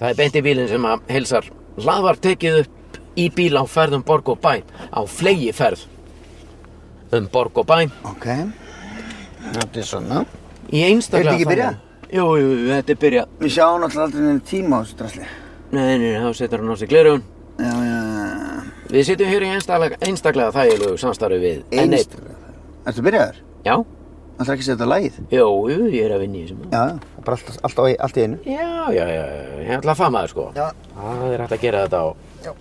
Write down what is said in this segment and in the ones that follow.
Það er beinti bílinn sem að heilsar Hlaðvar tekið upp í bíl á ferðum borg og bæ Á flegi ferð Um borg og bæ Ok, þetta er svona. Í Er einstaklega þetta ekki byrjað? þannig. Jú, jú, jú, þetta er byrjað Við sjáum náttúrulega aldrei neina tíma á þessu drasli. Nei, nei, nei, þá setur hann á sig glerugun Já, já, já. Við sitjum hér í einstaklega, einstaklega þægilegu samstarfi við N1. Einstaklega. Ertu byrjaður? Já, Það er ekki að setja lagið. jú, jú, ég er að vinna í þessum Já, já. Það er bara allt, allt, á, í- allt í einu. Já, já, já, já, ég ætla að fama þér sko Já. Það er hægt að gera þetta á Já.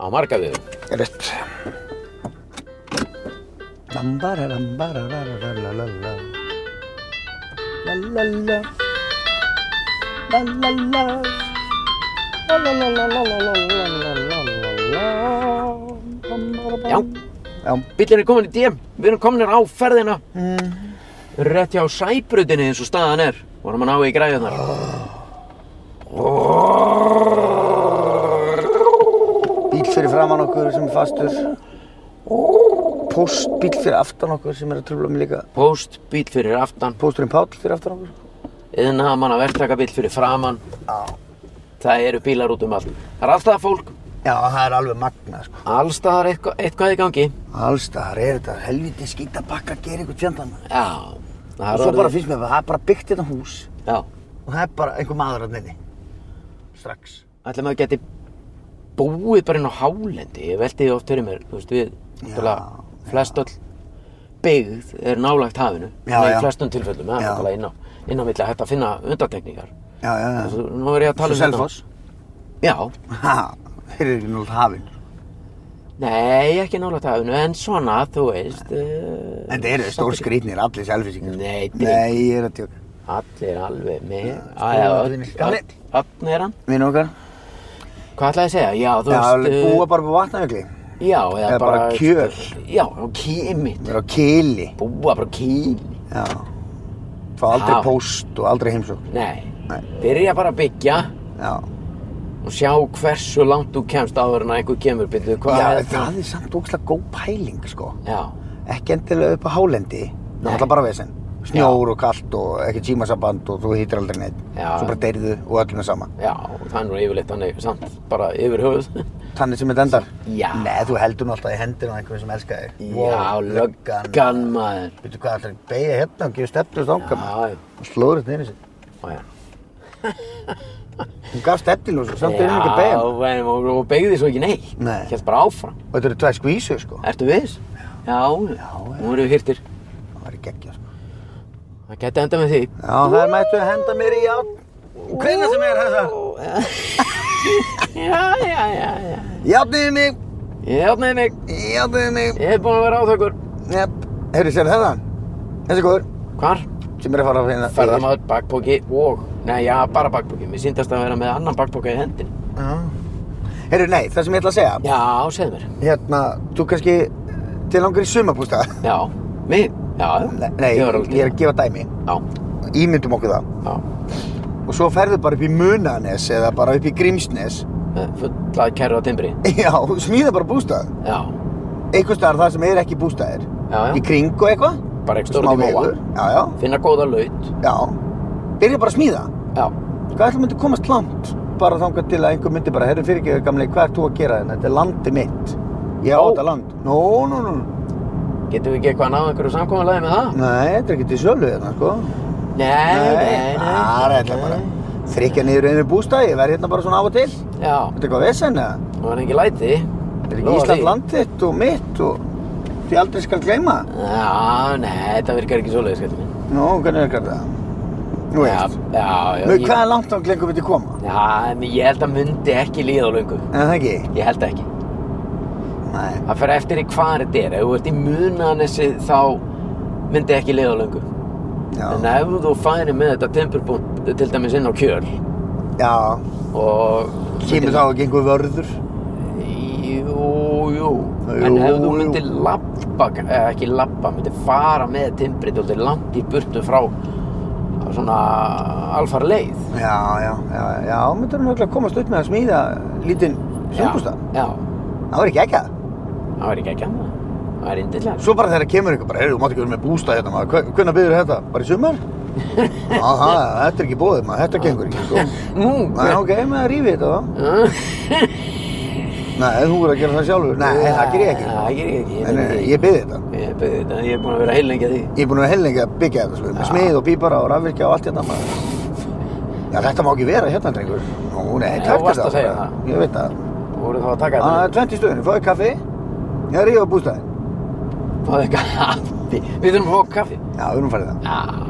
Á marga viðum Rétt. Bambararambaralaralalalala. Lalala. Lalala. Lalalalalalalalala. Bambarabam. Já. Já. Bíllinn er komin í DM, við erum kominir á ferðina Rétt hjá sæbrutinni eins og staðan er Vorum að ná í græðunar Bíl fyrir framann okkur sem er fastur. Póstbíl fyrir aftan okkur sem er að tröfla mig líka. Póst, bíll fyrir aftan Pósturinn Páll fyrir aftan okkur. Yðna manna verktakabíll fyrir framann Það eru bílar út um allt Það er alltaf fólk, Já, það er alveg magna, sko. allstaðar eitthvað, eitthvað í gangi Allstaðar er þetta helviti skýta bakka að gera ykkur tjandana. Já Það Og er svo bara orðið- finnst mér að það er bara byggt þetta hús Já, og það er bara einhver maður að nynni. Strax. ætlum að geti búið bara inn á hálendi ég velti því oft fyrir mér, þú veist við náttúrulega flest öll byggð er nálægt hafinu Já, Nei, í já. flestum tilfellum, það er Já. náttúrulega inn á inn á milli að hægt að finna undartekningar Já, já, já. Svo- nú er ég að tala Svo um Selfoss. þetta já, Ha, þeir eru ekki náttúrulega hafinn. nei, ekki nálægt hafinu en svona, þú veist En uh, þeir eru stór skrýtnir, allir selfisingar. nei, nei, Nei, ég er að tjóka. allir alveg með skoðaðurinn í skalli. öll er hann Minn okkar. hvað ætlaði að segja, já, þú Já, veist uh, búa bara på vatnajökli. já, eða eða bara kjöl. já, kýmitt, Við erum á kili. búa bara kýmitt Já. Fá aldrei Já. póst og aldrei heimsókn. Nei. Nei. Byrja bara að byggja Já. og sjá hversu langt þú kemst áður en að einhver kemur byrju. Hvað Já, er það er samt ógslag góð pæling, sko. Já, Ekki endilega upp á hálendi. Það Nei. er alltaf bara vesen. Snjór og kallt og ekki tímasamband og þú hýttir aldrei neitt. Já. Svo bara deyrðu og öllum er sama. já, það er nú yfirleitt þannig, samt, bara yfir höfuð. Þannig sem þetta endar. Já. Nei, þú heldur nú alltaf í hendinu á einhverjum sem elskar þig. já, löggan maður. Veitu hvað, það er að beigja hérna og gefa stefnir stanga maður. Já, Og slóður þetta neyri sér. já, já. Hún gaf stefnir og svo samt er hún ekki að beigja. Já, en- og, og beigði svo ekki neitt. Nei. Helt bara áfram. Og þetta eru tvær skvísur, sko. Ertu viss? Já, já, já. nú erum við hirtir. Það var ekki ekki, sko. Það geti enda með því. Já, það er mættu að henda mér í játn. Hvenna sem er þessa? Já, já, já, já. Játniði mig, Ég opnaði mig, játniði mig. ég er búinn að vera áþökkur. Jep. Heyrðu, sér þetta? Þessi góður, Hvar? sem er að fara að finna. ferðamaður, bakpóki og, nei, já, bara bakpóki, mér síndast að vera með annan bakpóka í hendin. Já. Heyrðu, nei, það sem ég ætla að segja. Já, segð mér. Hérna, þú kannski eh, til langar í sumabústað. Já, mig, já, Nei, nei, ég ég var er alveg til. að gefa dæmi. Já, Ímyndum okkur það. já, Og svo ferðu bara upp í Munanes eða bara upp í Grímsnes. með Eh, fulla kerru á timbri. Já, smíða bara bústað. Já, Eitthvað starf það sem er ekki bústaðir. já, já, Í kring og eitthvað. bara ekki stórt í móa. vegur. Já, já. Finna góða laut, Já, byrja bara að smíða. já, Hvað ætlum myndi komast langt? Bara þangað til að einhver myndi bara, herru fyrir ekki, gamli, hvað ert þú að gera hérna? Þetta er landið mitt. Ég á Ó. þetta land. Nú, nú, nú. getum við ekki eitthvað að ná einhverju samkominlega með það? Nei, þetta er ekki til sölu hérna, sko. Nei, nei, nei. Það er ætla bara. Þrykja niður einu bústæði, verð hérna bara svona af og til. Þetta Já, er eitthvað vesen, eða? það var ekki læti. Þetta er ekki Ísland land þitt og mitt og því aldrei skal gleyma. Já, nei, þetta virkar ekki svoleiðis, skættu minn. Nú, hvernig er þetta? Nú veist. Já, já, já. Nú, ég- hvað er langt þangað lengur myndi koma? Já, en ég held að myndi ekki líða á löngu. En það ekki? Ég held ekki. Nei. Það fer eftir í hvað þetta er. Ef þú ert í munanesi þá myndi ekki leiða lengur. Já. En ef þú færi með þetta timburbúnt til dæmis inn á kjöl Já. og... Kemur þá ekki einhver vörður? Jú, jú. En Jú, ef þú jú. myndi labba, eh, ekki labba, myndi fara með timbrið og þetta er langt í burtu frá svona alfar leið. Já, já, já, já, þá myndir hún auðvitað komast upp með að smíða lítinn sjónbústað. Já, já. Það var ekki ekki það. Það væri ekki ekki annað. Það væri indillega. Svo bara þegar kemur ykkur bara, heyrðu, þú mátt ekki vera með bústað hérna maður, Hve- hvenær byrður þetta? Bara í sumar? Já, það, þetta er ekki bóðið maður, þetta gengur ekki, sko. Nú, Nei, ok, maður rífi þetta þá. Nei, þú verður að gera það sjálfur. Nei, það ger ég ekki. Það ger ég ekki. Nei, nei, nei, ég byrði þetta. Ég er beðið þetta, ég er búin að vera heilengja því. Ég er búin að vera helningi að byggja þetta, sko, með Já. smið og pípara og rafvirkja og allt hérna maður. Já, þetta má ekki vera hérna, drengur. Nú, nei, Nei, takk þú varst að segja Ég veit það. Þú voru þá að taka Það þetta. er 20 stöðinu, fáið kaffi. Ég er í á bústæðin. Fáðu kaffi. Við þurfum að fá kaffi. Já, við erum farið það. Já,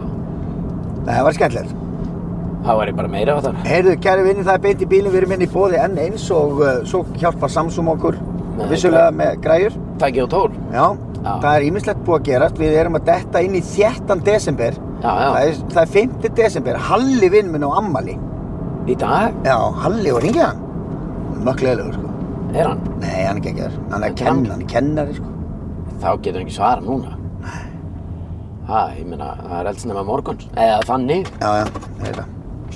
Nei, það var skemmtilegt. það væri bara meira á þar. Heyrðu, kæri vinni, það er beint í bílinn, við erum hérna í bóði enn eins og uh, svo hjálpa Samsung okkur Nei, vissulega með græjur. Takk ég á tól. Já, það er ímislegt búið að gerast, við erum að detta inn í þjættan desember. Já, Það já. er, það er 5. desember, Halli vinn minn á ammali. Í dag Já, Halli og ringið hann. Mökklegilegur, sko. er hann. Nei, hann er ekki ekki þar. Hann er Ekki kenn, hann? hann er kennari, sko. Þá getur hann ekki svara núna. Nei. Það, ég meina, það er eldsnema morguns. Eða þannig, Já, já, það er það.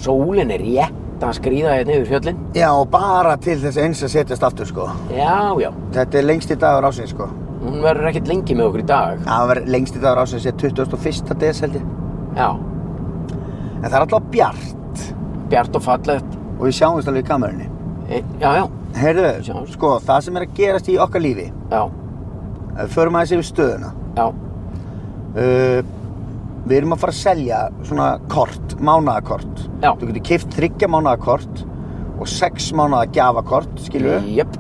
sólin er rétt að skrýða hérna yfir fjöllin. Já, og bara til þess eins að setjast aftur, sko. Já, já. Þetta er lengsti dagur ásins, sko. Hún verður ekkert lengi með okkur í dag. Það var lengsti dagur ásins, ég 21. des, held ég. Já. En það er alltaf bjart Bjart og fallegt. og við sjáumst alveg í kamerunni. E, já, já. Heyrðu, Sjáumst. sko, það sem er að gerast í okkar lífi, Já, ef við förum aðeins yfir stöðuna. já. Uh, við erum að fara að selja svona kort, mánaðakort. Já. Þú getur kipt þryggja mánaðakort og sex mánaða gjafakort, skilur við, Jöp.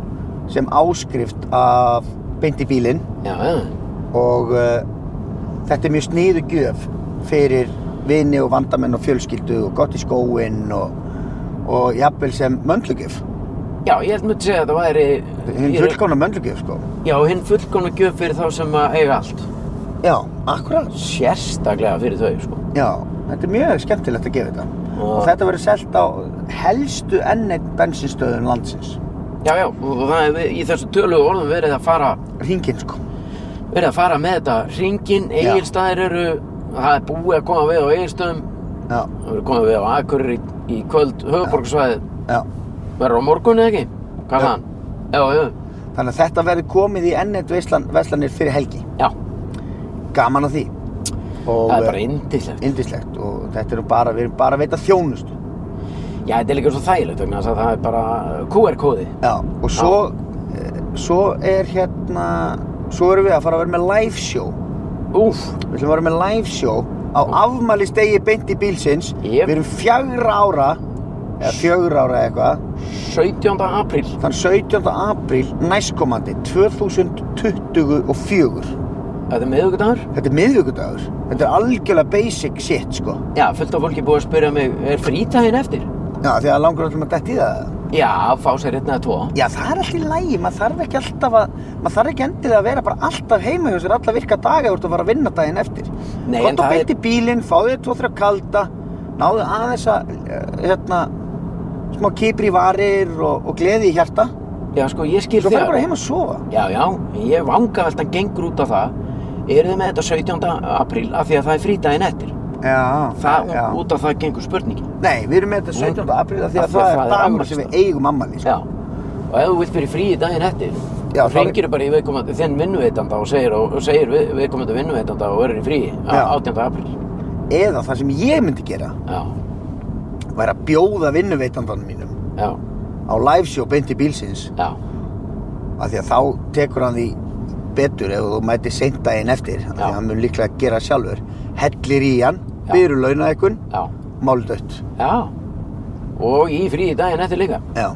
sem áskrift af beint í bílinn Já, já. og uh, þetta er mjög sniðu gjöf fyrir vini og vandamenn og fjölskyldu og gott í skóinn og, og jafnvel sem möndlugjöf. Já, ég held mér að segja að það væri... Hinn ég- fullkomna möndlugjöf, sko. Já, hinn fullkomna gjöf fyrir þá sem að eiga allt. Já, akkurat. Sérstaklega fyrir þau, sko. Já, þetta er mjög skemmtilegt að gefa þetta. Og- Og þetta verður selt á helstu ennett bensinstöðum landsins. Já, já, og það er við- í þessu tölugu orðum verið að fara, Ringinn, sko. verið að fara með þetta. Ringin, Já. eigilstæðir eru, það er búið að koma við á eigilstöðum, Já, það verður komið við á Akureyri í, í kvöld, höfuborgsvæðið, já. verður á morgun eða ekki? Hvað Já. hann? Já, já, Þannig að þetta verður komið í ennett verslan, verslanir fyrir helgi. já, Gaman að því. Og það er bara indislegt. Indislegt og þetta er bara, við erum bara að veita þjónustu. Já, þetta er líka svo þægilegt vegna þess að það er bara QR-kóði. Já, og svo, eh, svo er hérna, svo erum við að fara að vera með live show. Úf, Við ætlum að vera með live show á afmælistegi beint í bílsins. Jep. Við erum fjögra ára, eða fjögra ára eða eitthvað, 17. apríl. þann 17. apríl næstkomandi 2024. Þetta er miðugudagur. Þetta er miðvíkudagur. Þetta er algjörlega basic shit, sko. Já, fullt af fólki búið að spyrja mig, er frítaginn eftir? Já, því að langur öllum að detti það. Já, fá sér einn eða tvo. Já, það er alltaf í lægi. Maður þarf ekki alltaf að, maður þarf ekki endilega að vera bara alltaf heima hjá sér alla virka daga úr að fara að vinna daginn eftir. Nei, en Kott og það er- beint í bílinn, fáðu þér tvo, þrjá kalda, náðu aðeins að, eh, hérna, smá kýpri í varir og, og gleði í hjarta. Já, sko, ég skil Svo þig fer bara alveg. heim að sofa. Já, já, ég vanga veltan gengur út á það eru þið með þetta 17. apríl af því að það er frídaginn eftir Já, það, já. út af það gengur spurningin Nei, við erum með þetta 17. apríl af því að Af því að það það er er dagur sem við afmælisdagur. eigum sko. ammali. já, og ef þú vilt fyrir frí í daginn eftir Já, já, þá þá ringir bara í viðkomandi þinn vinnuveitanda og segir, og, og segir við, viðkomandi vinnuveitanda og verður í frí Já. á 18. apríl Eða það sem ég myndi gera já, væri að bjóða vinnuveitandanum mínum já, á live show beint í bílsins já, af því að þá tekur hann því betur ef þú mætir seint daginn eftir af því Já. að hann mun líklega að gera sjálfur hellir í hann, Já. byrur launa ekkun já, máldött já og í frí í daginn eftir líka Já,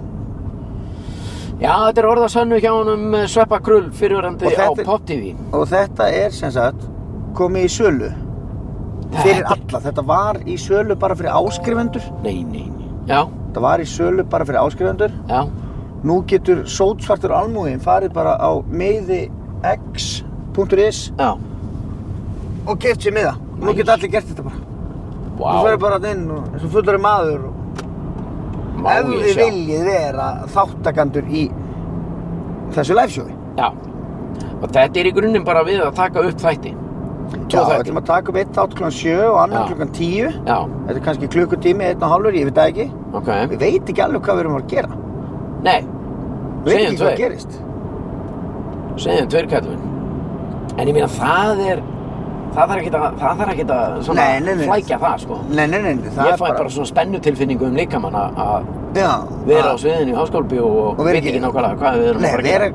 já, þetta er orða sönnu hjá honum eh, Sveppa Krull Og fyrirverandi á þetta er- Pop TV og þetta er sem sagt komið í sölu fyrir Þetta- alla, þetta var í sölu bara fyrir áskrifendur nei, nei, nei, já, þetta var í sölu bara fyrir áskrifendur já, nú getur sótsvartur almúin farið bara á meiðix.is já og keft sér miða nú Nice. getur allir gert þetta bara Vá, Þú fyrir bara þarna inn og eins og fullari maður og má ef ég þið sjá. viljið vera þáttakandur í þessu liveshowi. Já, og þetta er í grunninn bara við að taka upp þætti. Já, Tvo við þætti. ætlum að taka upp eitt þátt klukkan 7 og annan Já. klukkan 10. Já, Þetta er kannski klukkutími, einn og hálfur, ég veit það ekki. ok. Við veit ekki alveg hvað við erum að gera. Nei, Við veit Segjum ekki hvað tveir. gerist. segjum tveir kallum. En ég meina það er, það þarf ekki að, það þarf ekki að svona Nei, nei, nei. flækja það sko. Nei, nei, nei, það ég er fæ bara, svona spennutilfinningu um líkamann að- að já, vera á að- sviðinu í háskólbi og, og veit Og vera ekki ekki- nákvæmlega hvað við erum Nei, að fara að vera, gera.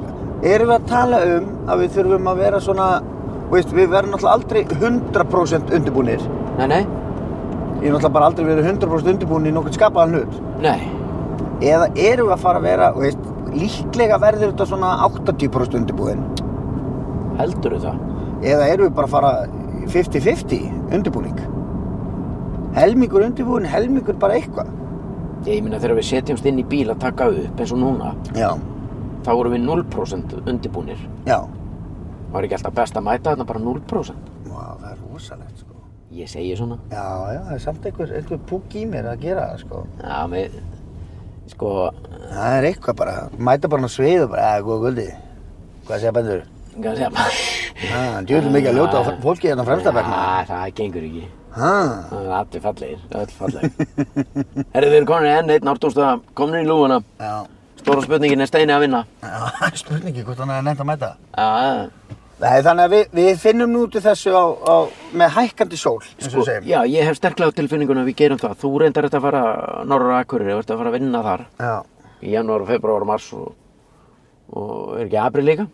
erum við að tala um að við þurfum að vera svona veist, Við verðum náttúrulega aldrei 100% undirbúnir Ég Nei, nei, er náttúrulega bara aldrei verið 100% undirbúin í nokkurn skapaðan hlut nei, Eða erum við að fara að vera, veist, líklega verður þetta svona 80% undirbúin heldur það? Eða erum við bara að fara 50-50 undirbúning Helmingur undirbúin, helmingur bara eitthvað Ég meina þegar við setjumst inn í bíl að taka upp eins og núna, Já, þá vorum við 0% undirbúnir. já Var ekki alltaf best að mæta þarna bara 0%? Vá, það er rosalegt sko Ég segi svona. Já, já, það er samt einhver, einhver púk í mér að gera það sko Já, með, sko, Það er eitthvað bara, mæta bara hann á svið og bara, eða, góða guldi, hvað segja bændur? hvað segja maður? Ha, djúðum mikið að ljóta á fr- fólki hérna fremsta vegna. Já, það gengur ekki. Ha, Það er allir fallegir, öll fallegir. Herðu, við erum komin í enn eitt nártúmstöða, komin í lúfuna. já, Stóra spurningin er steini að vinna. já, spurningi hvort hann er nefnt að mæta. Já, Nei, þannig að við, við finnum nú út í þessu á, á, með hækkandi sól, eins og við segjum. Sko, já, ég hef sterklega á tilfinninguna að við gerum það. Þú reyndar þetta að fara norra akkurir, þú ert að fara að vinna þar Já, í janúar, februar, mars og, og er ekki april líka?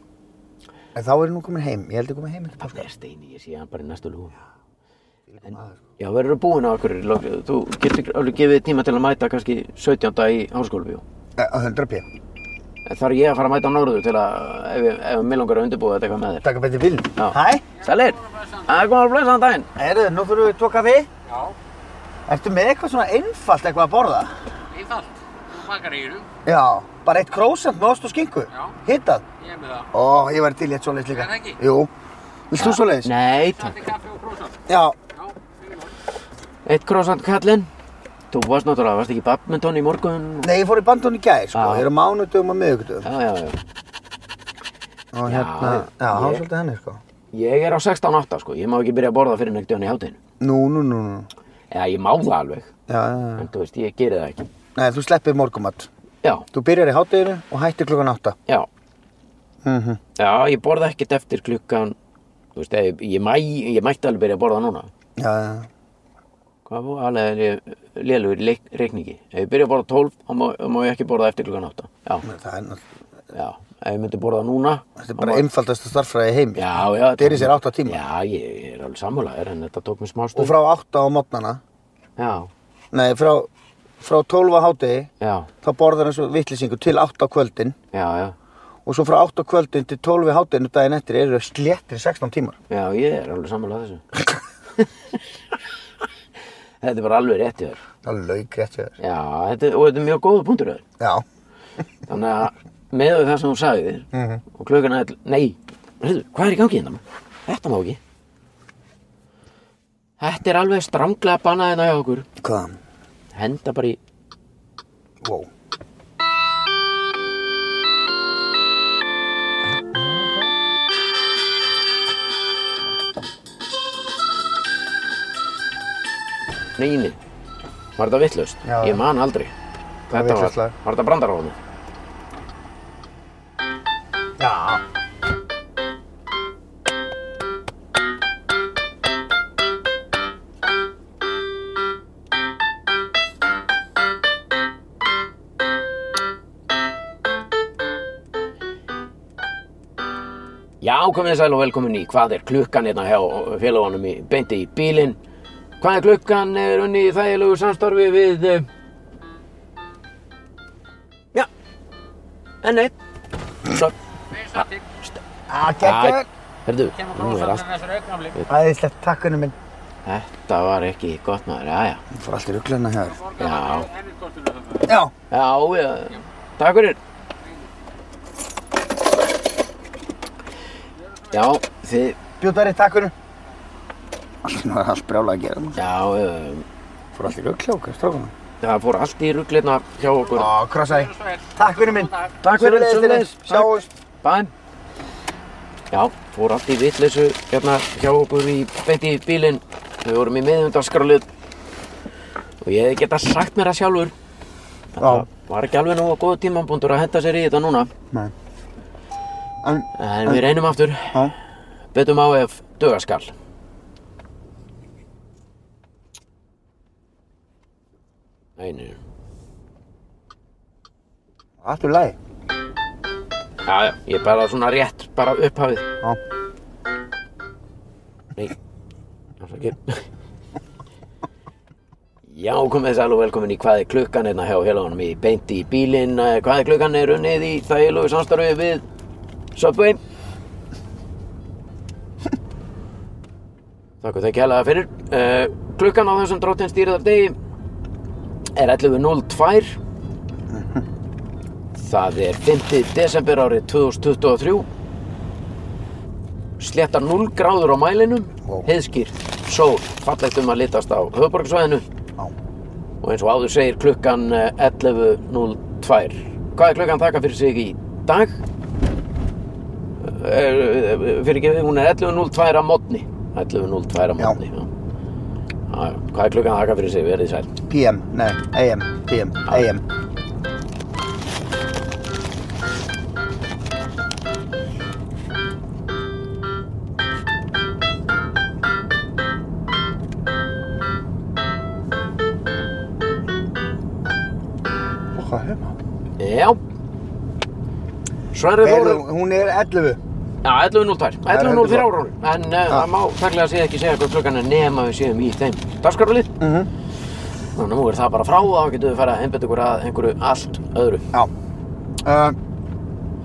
en þá er ég nú komin heim, ég held ég komin heim eftir Það páska. er steini, ég sé hann bara í næstu lúfu. En, Já, verður þú búinn á akkurir, þú getur alveg gefið þér tíma til að mæta kannski 17. í háskólubíu. Eh, á 100 p. En þarf ég að fara að mæta á norður til að, ef, ég- ef mig langar að undirbúa þetta eitthvað með þér. Takk að betið bíl. Já. Hæ, Sælir, það er komað að blessa hann daginn. heyrðu, nú fyrir við tóka við. Já, Ertu með eitthvað svona einfalt eitthvað að borða? einfalt. Þú bakar í hýrum. Já, bara eitt krósant með ost og skinku. Já. Hittað. Ég er með það. Ó, ég væri til í eitt svoleiðis líka. Er það ekki? Jú. Vilt þú svoleiðis? Nei, Þetta takk. er kaffi og krósan. Já. Já, fyrir mál. Eitt krossant kallinn. Þú varst náttúrulega, varst ekki í badminton í morgun? Nei, ég fór í bandun í gær, sko. Já. Ég er á mánudögum og miðugdögum. Já, já, já. Og hérna, já, ég- hann var svolítið henni, sko. Ég er á 16.8 sko, ég má ekki byrja að borða fyrir neitt dönn í hátinu. Nú, nú, nú, nú. Eða ég má það alveg, Já, já, já. en þú veist, ég geri það ekki. Nei, þú sleppir morgumat. Já, Þú byrjar í hátteginu og hættir klukkan átta. já, Mm -hmm. já, ég borða ekkert eftir klukkan, þú veist, ég, ég, mæ, ég mætti alveg byrja að borða núna. Já, já. Hvað var alveg lélugur í leik- reikningi? Ef ég byrja að borða 12, þá má, þá má ég ekki borða eftir klukkan 8. Já, Nei, Það er náttúrulega, já, ef ég myndi borða núna, þetta er bara einfaldast að starffræði heim. já, já. Þetta er í sér átta tíma. Já, ég, ég er alveg sammálaður, en þetta tók mér smá Og stund. frá átta á mótnana, Já, nei, frá, frá tólfa hátegi, já, þá borðar hann svo vittlisingu til átta á kvöldin. já, já, Og svo frá átta á kvöldin til tólfi hátteginu daginn eftir eru það sléttir 16 tímar. já, ég er alveg sammálaður þessu. þetta er bara alveg rétt í þér. Það er lauk rétt hjá þér. Já, þetta, og þetta er mjög góða punktur þér. Já. Þannig að með það sem þú sagði þér Mhm. og klukkan að, nei, heyrðu, hvað er í gangi hérna? Þetta má ekki. Þetta er alveg stranglega bannað hérna hjá okkur. Hvað? Henda bara í, Wow. neini, var þetta vittlust? Já, já. Ég man aldrei. var Þetta var, vitlaust lag. var þetta brandaráðum? Já. Já, komið þið sæl og velkomin í Hvað er klukkan hérna hjá félagunum í beinti í bílinn Hvað er klukkan er unni í þægilegu samstarfi við eh, Já, enn eitt Svo, Við sattir. Ah, geggjör. herðu, Kemur nú er krósan allt með þessu augnaflið. Æðislegt, takk henni minn. Þetta var ekki gott maður, já, já Hún fór alltaf rugglana hér. Borgar það hennir kortinu þarna. Já. Já, já, takk fyrir Já, þið, Bjóðari, takk henni. Alltaf var allt brjála að gera nú. já, um, Fór alltaf ruggla okkar, strákuna. það fór allt í ruglirna hjá okkur Á, krossari. Gjörðu svo vel. Takk henni minn. Góðan dag. Takk fyrir, Sömuleiðis, sömuleiðis. Stefán. Takk. Sjáumst. Bæn. Já, fór allt í vitleysu hérna hjá okkur í beinti í bílinn. Við vorum í miðundarskrálið og ég hefði getað sagt mér það sjálfur. Þetta Já. var ekki alveg nógu góð tímambundur að henda sér í þetta núna. Nei. En, En við reynum aftur. já. Betum á ef dugaskall. Nei, nei. nei. Allt úr lagi. Já, já, ég er bara svona rétt, bara upphafið. Já. Nei, afsakið. Já, komið þess alveg velkomin í hvað er klukkan hérna hjá helanum í beint í bílinn. eh, Hvað er klukkan er unnið í þægilegu samstarfið við Subway. Takk og það kjælega fyrir. Uh, klukkan á þessum dróttinn stýriðar degi er 11.02. Það er 5. desember árið 2023 Sléttar 0 gráður á mælinum Vá. Heiðskýr, sól, fallegt um að litast á höfuborgarsvæðinu Já. Og eins og áður segir klukkan eh, 11.02 Hvað er klukkan þakka fyrir sig í dag? Fyrir ekki, hún er 11.02 að modni 11.02 að Já. modni Já. Já, já. Hvað er klukkan þakka fyrir sig? Verið sæl PM, nei, AM, PM, AM. Og hvað hefur maður? Já Sverri Þóru Heyrðu, Hún er 11. Já, 11.02, 11.04 ára En uh, Já. það má þærlega segja ekki segja hvað klukkan er nema við séum í þeim dagskarflið Mm Þannig að nú er það bara frá og þá getum við farið að einbetta ykkur að einhverju allt öðru Já. Uh,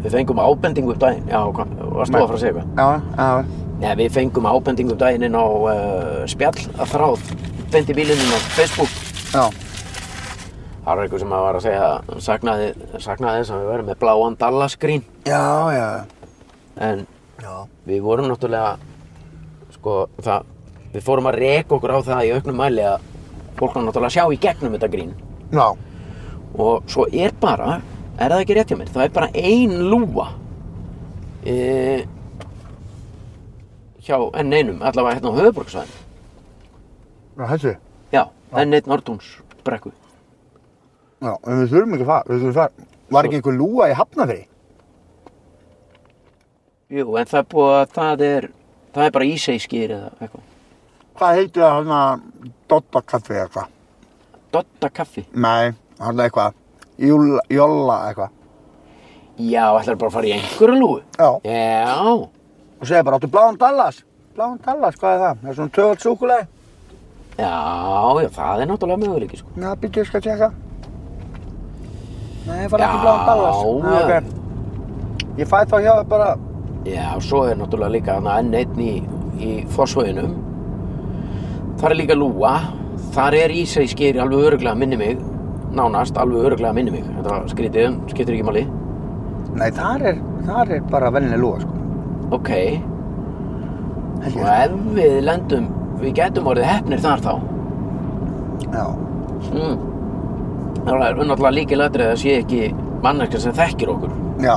Við fengum ábendingu um daginn Já, hvað, varst þú að fara að segja eitthvað? já, já. Nei, við fengum ábendingu um daginn inn á uh, spjall að þráð beint í bílinum á Facebook Já, Það var einhver sem að var að segja að saknaði, saknaði þess að við verðum með bláan dallaskrín já, já. En Já. við vorum náttúrulega sko, það, við fórum að reka okkur á það í auknum mæli að fólk var náttúrulega að sjá í gegnum þetta grín Já. og svo er bara, er það ekki rétt hjá mér það er bara ein lúa e, hjá enn einum allavega hérna á höfuborgsvæðin Já, þessi. já, enn einn Nordúns brekku Já, en við þurfum ekki að fara, við þurfum að fara. Var ekki einhver lúa í Hafnafri? jú, en það er búið að það er það er bara íseiskýr eða eitthvað Hvað heitir það hérna Dotta kaffi eða eitthvað? Dotta kaffi Nei, hérna eitthvað. Júla, Jólla eitthvað. já, ætlar bara að fara í einhverju lúu Já. já, Og segja bara, áttu bláan Dallas? Bláan Dallas, hvað er það? Það er svona töfald súkuleg. já, já það er náttúrulega möguleiki sko. Já, býttu, ég skal tjekka. Nei, ég fara Já, ekki bláan Dallas. já. ok. Ég fæ þá hjá þér bara, Já, svo er náttúrulega líka hana enn einn í, í fórsvöginum. Þar er líka lúa. Þar er ísæskeri alveg öruglega minni mig. Nánast alveg öruglega minni mig. Þetta var skrítið, en skiptir ekki máli. nei, þar er, þar er bara vennileg lúa, sko. Ok, Held og ég. ef við lendum, við getum orðið hefnir þar þá. Já. Mm. Það er náttúrulega líkið ladrið að það sé ekki manneskja sem þekkir okkur. Já.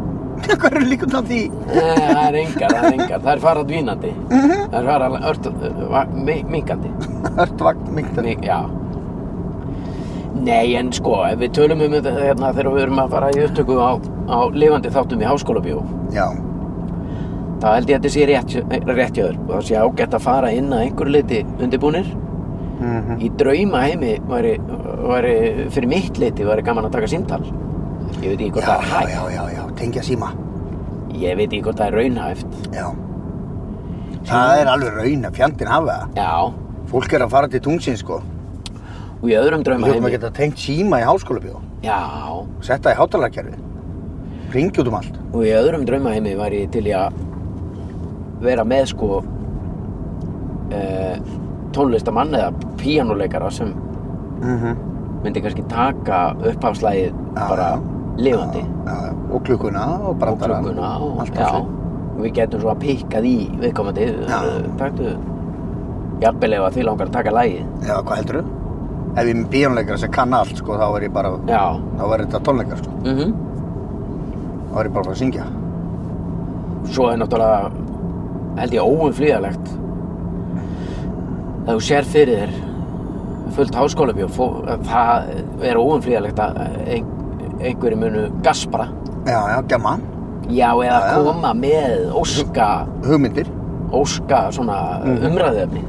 Hvað eru líkund á því? Nei, það er engar, það er engar. Það er farað dvínandi. Það er farað ört, eh, minkandi. Örtvagn, mygtan. Mig, já. Nei, en sko, ef við tölum um þetta hérna, þegar við erum að fara í upptöku á, á lifandi þáttum í háskólabíó, Já. þá held ég að þetta sé rétt, rétt hjá þér og það sé ágætt að fara inn að einhverju leiti undirbúnir. Mm Í drauma heimi væri, væri, fyrir mitt leiti væri gaman að taka síntal. Ég veit ekki hvort Já, það er já, hægt. já, já, já, tengja síma. Ég veit ekki hvort það er raunhæft. Já. Það er alveg raun að fjandinn hafa það. Já, Fólk er að fara til tungsin, sko. og í öðrum Við drauma höfum heimi. að geta tengt síma í háskólabíó. Já, Setta í hátalarkerfi. Ringi út um allt. og í öðrum draumaheimi var ég til í að vera með sko e, tónlistamann eða píanuleikara sem Mm -hmm. myndi kannski taka upphafslægið Já, bara já. lifandi Já, og klukkuna og og brandarann. klukkuna og allt já, þessu. og við getum svo að pikkað í viðkomandi Já. eh, taktu jafnvel ef að því langar að taka lægið Já, hvað heldur þú? Ef ég er með bíónleikara sem kann allt, sko, þá er ég bara, já, þá er þetta tónleikar, sko. mhm Þá er ég bara að fara að syngja. svo er náttúrulega held ég óumflýðalegt þegar þú sér fyrir þér fullt háskólabjó það er óumflýðalegt að ein, einhverju munu gaspra Já, já, gemma. já eða Já, já. koma með óska, Hugmyndir. óska svona umræðefni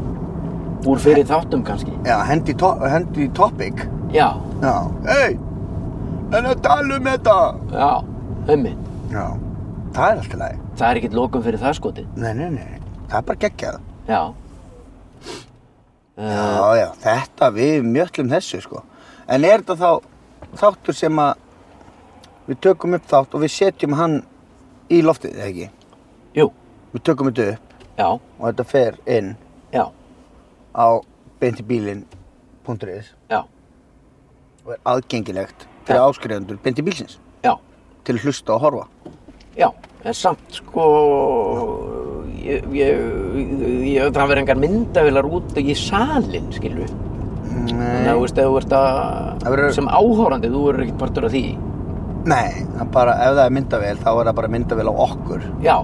úr fyrir þáttum kannski Já, hendi, to hendi topic. já, Já. Hei, en að tala um þetta. já, ummitt. Já. Það er alltaf læg. Það er ekkert lokum fyrir það skotið. Nei, nei, nei. Það er bara geggjað. Já. Uh, Já, já. Þetta við mjöllum þessu, sko. En er þetta þá þáttur sem að við tökum upp þátt og við setjum hann í loftið, eða ekki? jú, Við tökum þetta upp já, og þetta fer inn já, á bentibílin.is já, og er aðgengilegt fyrir Já. áskrifendur bentibílsins já, til að hlusta og horfa. já. En samt, sko, ég, ég, ég, það verður engar myndavilar út í salin, skilju. Þannig að þú Nei, veist, ef þú ert að, Það verður- sem áhórandi, þú verður ekkert partur af því. nei, það er bara, ef það er myndavél þá er það bara myndavél á okkur. Já,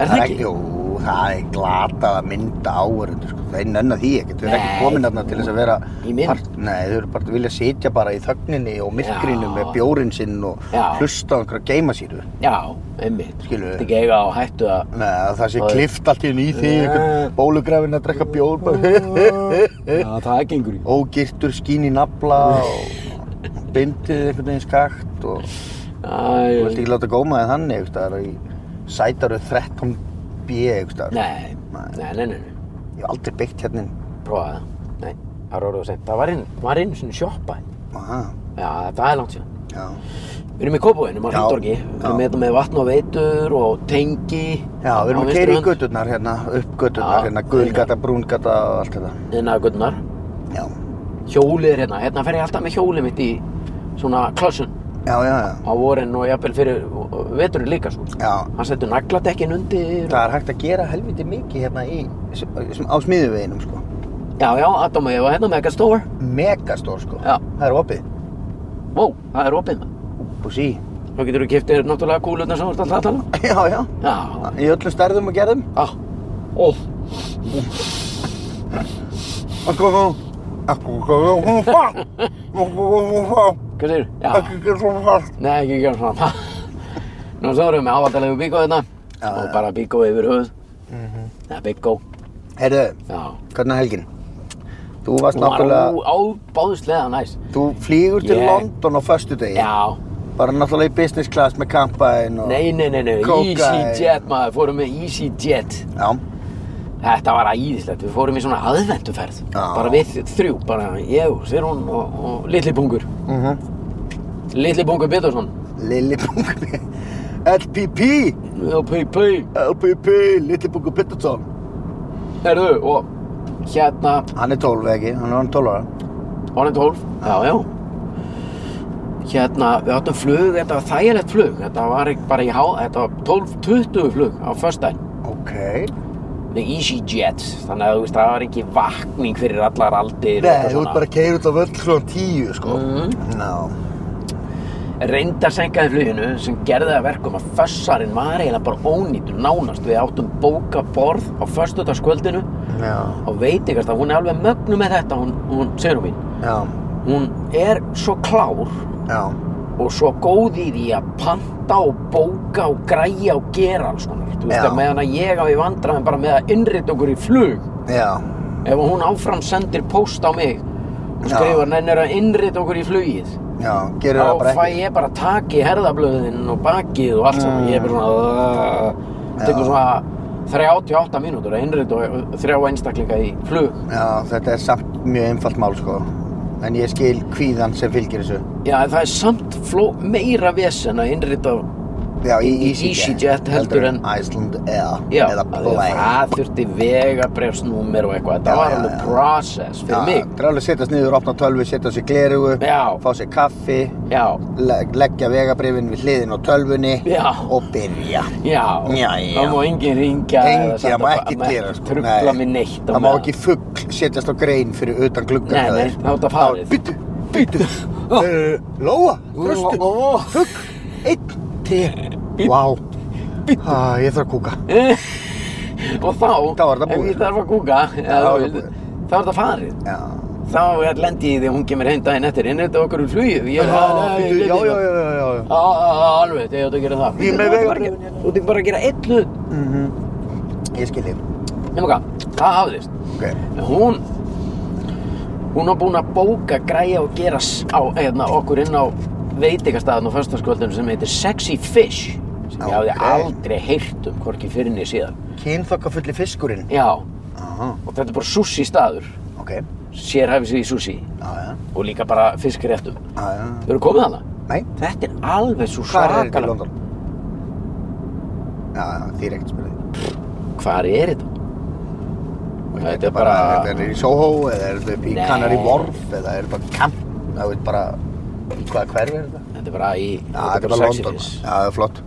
er það Jú, ekki? það er glatað að mynda áhverjum, sko. það er nönn að því ekkert. Þau eru ekki Nei. komin þarna til þess að vera... Í mynd. nei, þau eru bara að vilja sitja bara í þögninni og myrkrinu Já. með bjórinn sinn og Já. hlusta á einhverja geimasýru. Já, einmitt. Skilur. Þetta ekki eiga á hættu að, Nei, að það sé Það er- klift allt í henni í því, einhver bólugrafin að drekka bjór, bara... já, það gengur í. Ógirtur skín í nafla og bindið einhvern veginn skakt og... Þú vilt Æ, ekki láta góma þig þannig, einhvers staðar í sætaru 13B, einhvers staðar. nei, nei, nei, nei, nei. Ég hef aldrei byggt hérna inn. prófaði það. Nei, það var orðið að segja. Það var einu, var einu sinni sjoppa. Aha, Já, það er langt síðan. já. Við erum í Kópavöginum á Já, Hringtorgi. Við erum já. hérna með vatn og veitur og tengi. Já, við erum að keira í göturnar hérna, upp göturnar Já, hérna, einar. gulgata, brúngata og allt þetta. Inna göttunar. Já, hérna, Hjólið er hérna. Hérna fer ég alltaf með hjólið mitt í svona klössun já, já, já. á vorin og jafnvel fyrir veturinn líka sko. já. Hann setur nagladekkin undir. Það er hægt að gera helviti mikið hérna í, sem, á smiðuveginum, sko. Já, já, Adam og ég var hérna Megastore. Megastór, sko. Já. Það er opið. Vó, það er opið maður. Bú sí. Þá getur þú kiftið náttúrulega kúlutna sem þú ert alltaf að tala um. Já, já. Já, Í öllum stærðum og gerðum. ah, óf. Akkur, akkur, akkur, akkur, Hvað segir Já. ekki gera svona fast. Nei, ekki gera svona. Nú svo erum við ávallalegu bíkó hérna. Já, og já. Mhm. bara bíkó yfir höfuð. Það er bíkó. Heyrðu, Já. Hvernig er helgin? Þú varst Hún var náttúrulega, ábáðslega næs. þú flýgur til Ég- London á föstu degi, Já. bara náttúrulega í business class með kampaðin og... Nei, nei, nei, nei. Kókaín. EasyJet maður. Fórum með EasyJet. Já, Þetta var æðislegt. Við fórum í svona aðvenduferð. Já. Bara við þrjú. Bara ég, Sirún og, og Litli Bungur. mhm, Litli Bungur Bittursson. Lillibungur, LPP, LPP. LPP, Lillibungur Pettersson. Herðu, og hérna Hann er 12 ekki, hann er hann 12 ára. Orðin 12? Já, já. Hérna, við áttum flug, þetta var þægilegt flug. Þetta var ekki bara í há, þetta var 12-20 flug á föstudaginn Ok. með EasyJet. Þannig að þú veist, það var ekki vakning fyrir allar aldir. og Nei, eitthvað þú ert svona. bara að keira út á völl svona 10 sko. Mhm. Ná, Reyndar senkaði fluginu sem gerði það að verkum að fössarinn var eiginlega bara ónýtur nánast. Við áttum bóka borð á föstudagskvöldinu já, á veitingast að hún er alveg mögnu með þetta, hún, hún, segir hún mín. já, Hún er svo klár já, og svo góð í því að panta og bóka og græja og gera alls konar. Þú veist Já. að meðan að ég á í vandræðum bara með að innrita okkur í flug já, ef hún áfram sendir póst á mig og Já. skrifar nennir að innrita okkur í flugið já, gerur það þá bara fæ ekki. ég bara tak í herðablöðin og bakið og allt saman ég er bara svona Já. tekur svona 38 mínútur að innrita uh, þrjá einstaklinga í flug Já, þetta er samt mjög einfalt mál, sko. En ég skil kvíðan sem fylgir þessu. já en það er samt fló, meira vesen að innrita Já, í Í- í EasyJet, EasyJet heldur en- Iceland Air Já, eða af því að Play það þurfti vegabrefsnúmer og eitthvað, Já, þetta var já, alveg já. process fyrir mig. Það er alveg að setjast niður, opna tölvi, setja sér glerugu Já. fá sér kaffi Já, legg- leggja vegabrifin við hliðin á tölvunni Já. og byrja já, Já, já. það má enginn ringja Engi, senda það má bara- ekki maður gera sko. Trufla Nei. mig neitt á Það má meðan. ekki fugg setjast á grein fyrir utan gluggan Nei, hjá nei, þér. þá er þetta farið. Bíddu, bíddu Ó. Eh, Lóa, þröstu, Ó, fugg, einn, tre Bíddu, Eh. Vá, Ah, ég þarf að kúka Og þá, Þá er það ef búið. ég þarf að kúka, er eða þú það vilt, búið. þá er það farið. Já, Þá er lendi ég því að hún kemur heim daginn eftir, en þetta okkur úr flugið. Ég, Já, nei, bíddu, ég- já, já, já, já, já, já. Á, á, á, alveg, þegar þú átt að gera það. Ég með Þú átt bara að vegabréfin gera- Þú ert bara að gera einn hlut. Mhm. Ég skil þig Nefnum hvað, það hafðist. Ok, En hún Hún var búin að bóka, græja og gera s- á, eðna, okkur inn á veitingastæðan á föstaskvöldinu sem heitir Sexy Fish sem ég hafði Ókei. aldrei heyrt um hvorki fyrir niður síðan. Kynþokkafulli fiskurinn. Já, Aha, og þetta er bara sushi staður, ok. sérhæfi sig í sushi Já, já, og líka bara fiskréttum. já, já. Þau eru komið hana? Nei, Þetta er alveg svo hvað er þetta í svakalega- London? Já, já, þið er ekkert spyrðið. Hvar er þetta? Þetta er bara... Þetta er í Soho, eða er þetta upp í Nei. Canary Wharf, eða er þetta bara kamp, það veit bara í hvaða hverfi er þetta? Þetta er bara í... Já, þetta er bara sexy London. fish. Já, það er flott.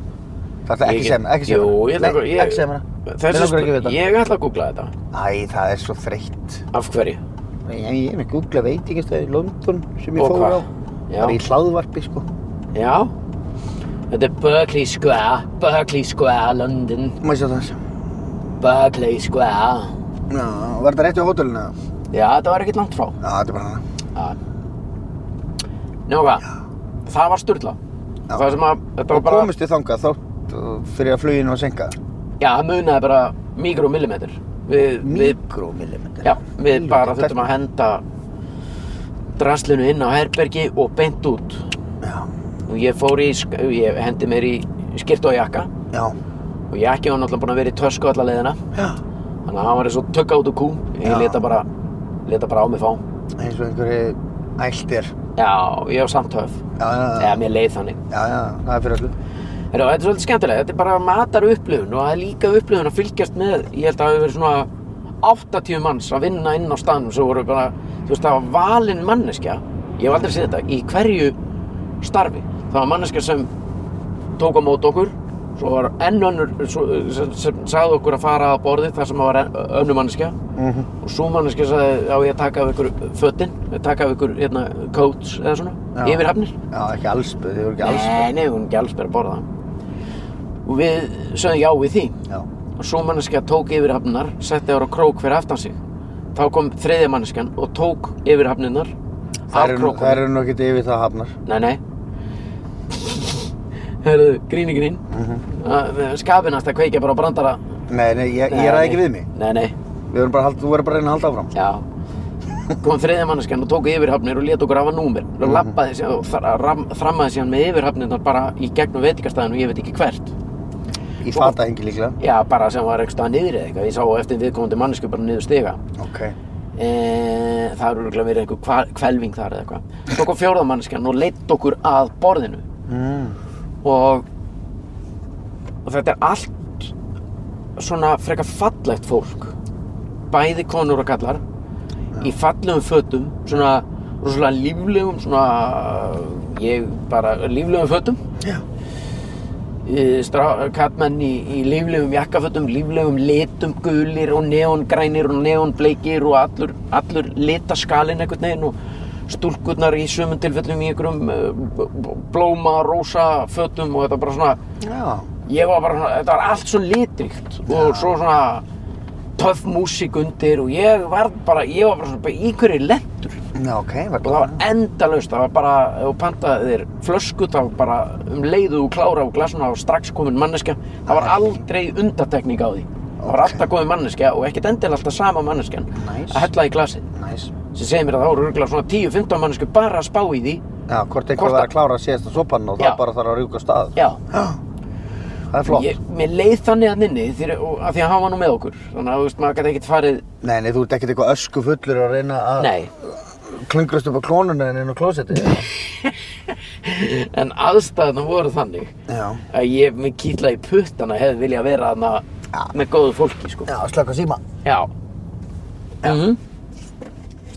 Það er Ég get- ekki sem, ekki sem. Jú, ég ætla Nei, að- ég- ekki sem hana. Mig Þessu langar ekki að spurning, vita. ég ætla að googla þetta. Æ, það er svo þreytt. Af hverju? Nei, Ég, ég er með googla veitingastöði í London sem ég Og fór hvað? á. Já. Bara í hlaðvarpi, sko. Já. Þetta er Berkeley Square, Berkeley Square, London, Má ég sjá það? Berkeley Square. Já, var þetta rétt á hótelinu? eða? Já, þetta var ekkert langt frá. Já, þetta er bara hana. Já. Nú hvað, það var sturla. Já. Það sem að, þetta var Og bara, komist þið þangað þótt uh, fyrir að fluginu var senkað? já, það munaði bara mikromillimetr. Við, við, Mikromillimetr. já, við bara þurftum að henda draslinu inn á herbergi og beint út. Já, Og ég fór í, sk- ég hendi mér í skirt og jakka já, og jakki var náttúrulega búin að vera í tösku alla leiðina. já. Þannig að hann var eins og tökka út úr kú. Ég Já. leta bara, leta bara á mig fá. Eins og einhverju æltir. Já, ég var samt höf. Já, já, Eða já, mér leið þannig. já, já, það er fyrir öllu. Heru, þetta er svolítið skemmtilega. Þetta er bara matar upplifun og það er líka upplifun að fylgjast með. Ég held að það hefur verið svona 80 manns að vinna inn á staðnum sem voru bara, þú veist, það var valin manneskja. Ég hef aldrei séð þetta. Í hverju starfi. Það var manneskja sem tók á mót okkur svo var enn önnur svo, sem, sem sagði okkur að fara að borði þar sem var önnur manneskja Mhm. og svo manneskja sagði á ég að taka af ykkur fötin, taka af ykkur hérna, coats eða svona, Já. yfirhafnir Já, ekki allsbyrð, þið voru ekki allsbyrð. Nei, nei, hún er ekki allsber að borða Og við sögðum já við því Já, Og svo manneskja tók yfirhafninar Setti ára krók fyrir aftan sig Þá kom þriðja manneskjan og tók yfirhafninar það Af eru nú- krókum það eru nú ekkert yfir það hafnar. Nei, nei Herðu, gríni grín Mhm. uh, Skapinast að kveikja bara á brandara Nei, nei, ég, ég ræði ekki við mig. Nei, nei, Við erum bara, hald, þú verður bara að reyna að halda áfram. já Kom þriðja manneskjan og tók yfirhafnir og lét okkur hafa númer Mhm. Og labbaði sér og þra- ram- þrammaði sér með yfirhafnirnar bara í gegnum veitingastæðinu og ég veit ekki hvert Ég fata engi líklega. Já, bara sem var eitthvað niður eða eitthvað. Ég sá á eftir viðkomandi mannesku bara niður stiga. Ok. E, það eru örugglega verið einhver hva- hvelfing þar eða eitthvað. Svo kom fjórða manneskjan og leitt okkur að borðinu. Mm. Og, og þetta er allt svona frekar fallegt fólk. Bæði konur og kallar. Í fallegum fötum. Svona rosalega líflegum, svona, ég bara, líflegum fötum. Já. kattmenn í, í líflegum jakkafötum, líflegum litum, gulir og neongrænir og neonbleikir og allur, allur litaskalinn einhvern veginn og stúlkurnar í sömum tilfellum í einhverjum eh, b- b- blóma, rósa, fötum og þetta var bara svona, Já. ég var bara svona, þetta var allt svo litrikt og svo svona töff músík undir og ég var bara, ég var bara svona bara í hverju lendur Já, ok, var og það var endalaust, það var bara, ef þú pantaði þér flösku, þá var bara um leiðu og klára á glasuna og strax komin manneskja. Það var aldrei undatekning á því. Það var Ok. alltaf komin manneskja og ekkert endilega alltaf sama manneskjan Nice. að hella í glasið. Næs. Sem segir mér að það voru örgulega svona 10-15 mannesku bara að spá í því. Já, hvort Hvort eitthvað var að- að klára síðasta sopan og Já. það bara þarf að rjúka af stað. Já, Það er flott. ég, mér leið þannig að nynni því að því að hann var nú með okkur. Þannig að þú veist, maður gæti ekkert farið, Nei, nei, þú ert ekkert eitthvað ösku fullur að reyna að nei. klungrast upp á klónuna en inn á klósetti. En aðstæðna voru þannig Já. að ég með kýtla í puttana hefði vilja vera Já. þarna með góðu fólki, sko. Já, slökk á síma. Já. Mm -hmm.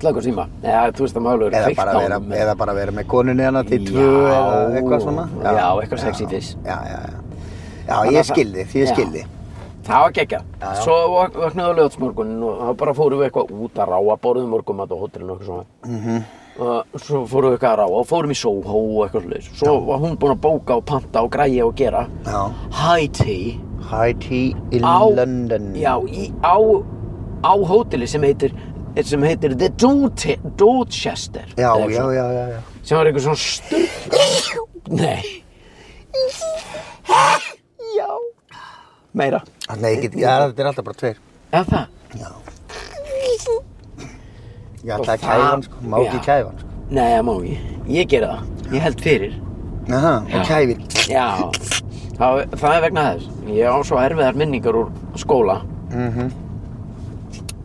Slökkur síma. Já, þú veist að maður alveg verið Eða kveikt bara, á vera, honum. eða bara vera með konunni hana til tvö Já. eða eitthvað svona. Já, eitthvað sexy fish. Já, já, já. Já, Þannig að ég það- skildi, ég Já. skildi. Það var gekkja. Já, já. Svo vak- vaknaði á lögatsmorgunin og þá bara fórum við eitthvað út að ráa, borðum morgum að hótelinu og eitthvað svona. Mm Mhm. Og svo fórum við eitthvað að ráa og fórum í Soho og eitthvað slags. Svo var hún búin að bóka og panta og græja og gera. Já. High tea. High tea in Á, London. Já, í, á, á hóteli sem heitir, sem heitir The Dute- Dorchester. Já, Eða eitthvað já, svona. já, já, já. Sem var eitthvað svona sturg... Nei. Já. Meira. Nei, ég get, já, þetta er alltaf bara tveir. Eða það? Já. Já, Og það það- er kæfan sko, má ekki Já. kæfa hann sko. Nei, það má ekki. Ég ger það. Ég held fyrir. Aha, Já. og kæfir. Já, það, það er vegna þess. Ég á svo erfiðar minningar úr skóla. Mm -hmm.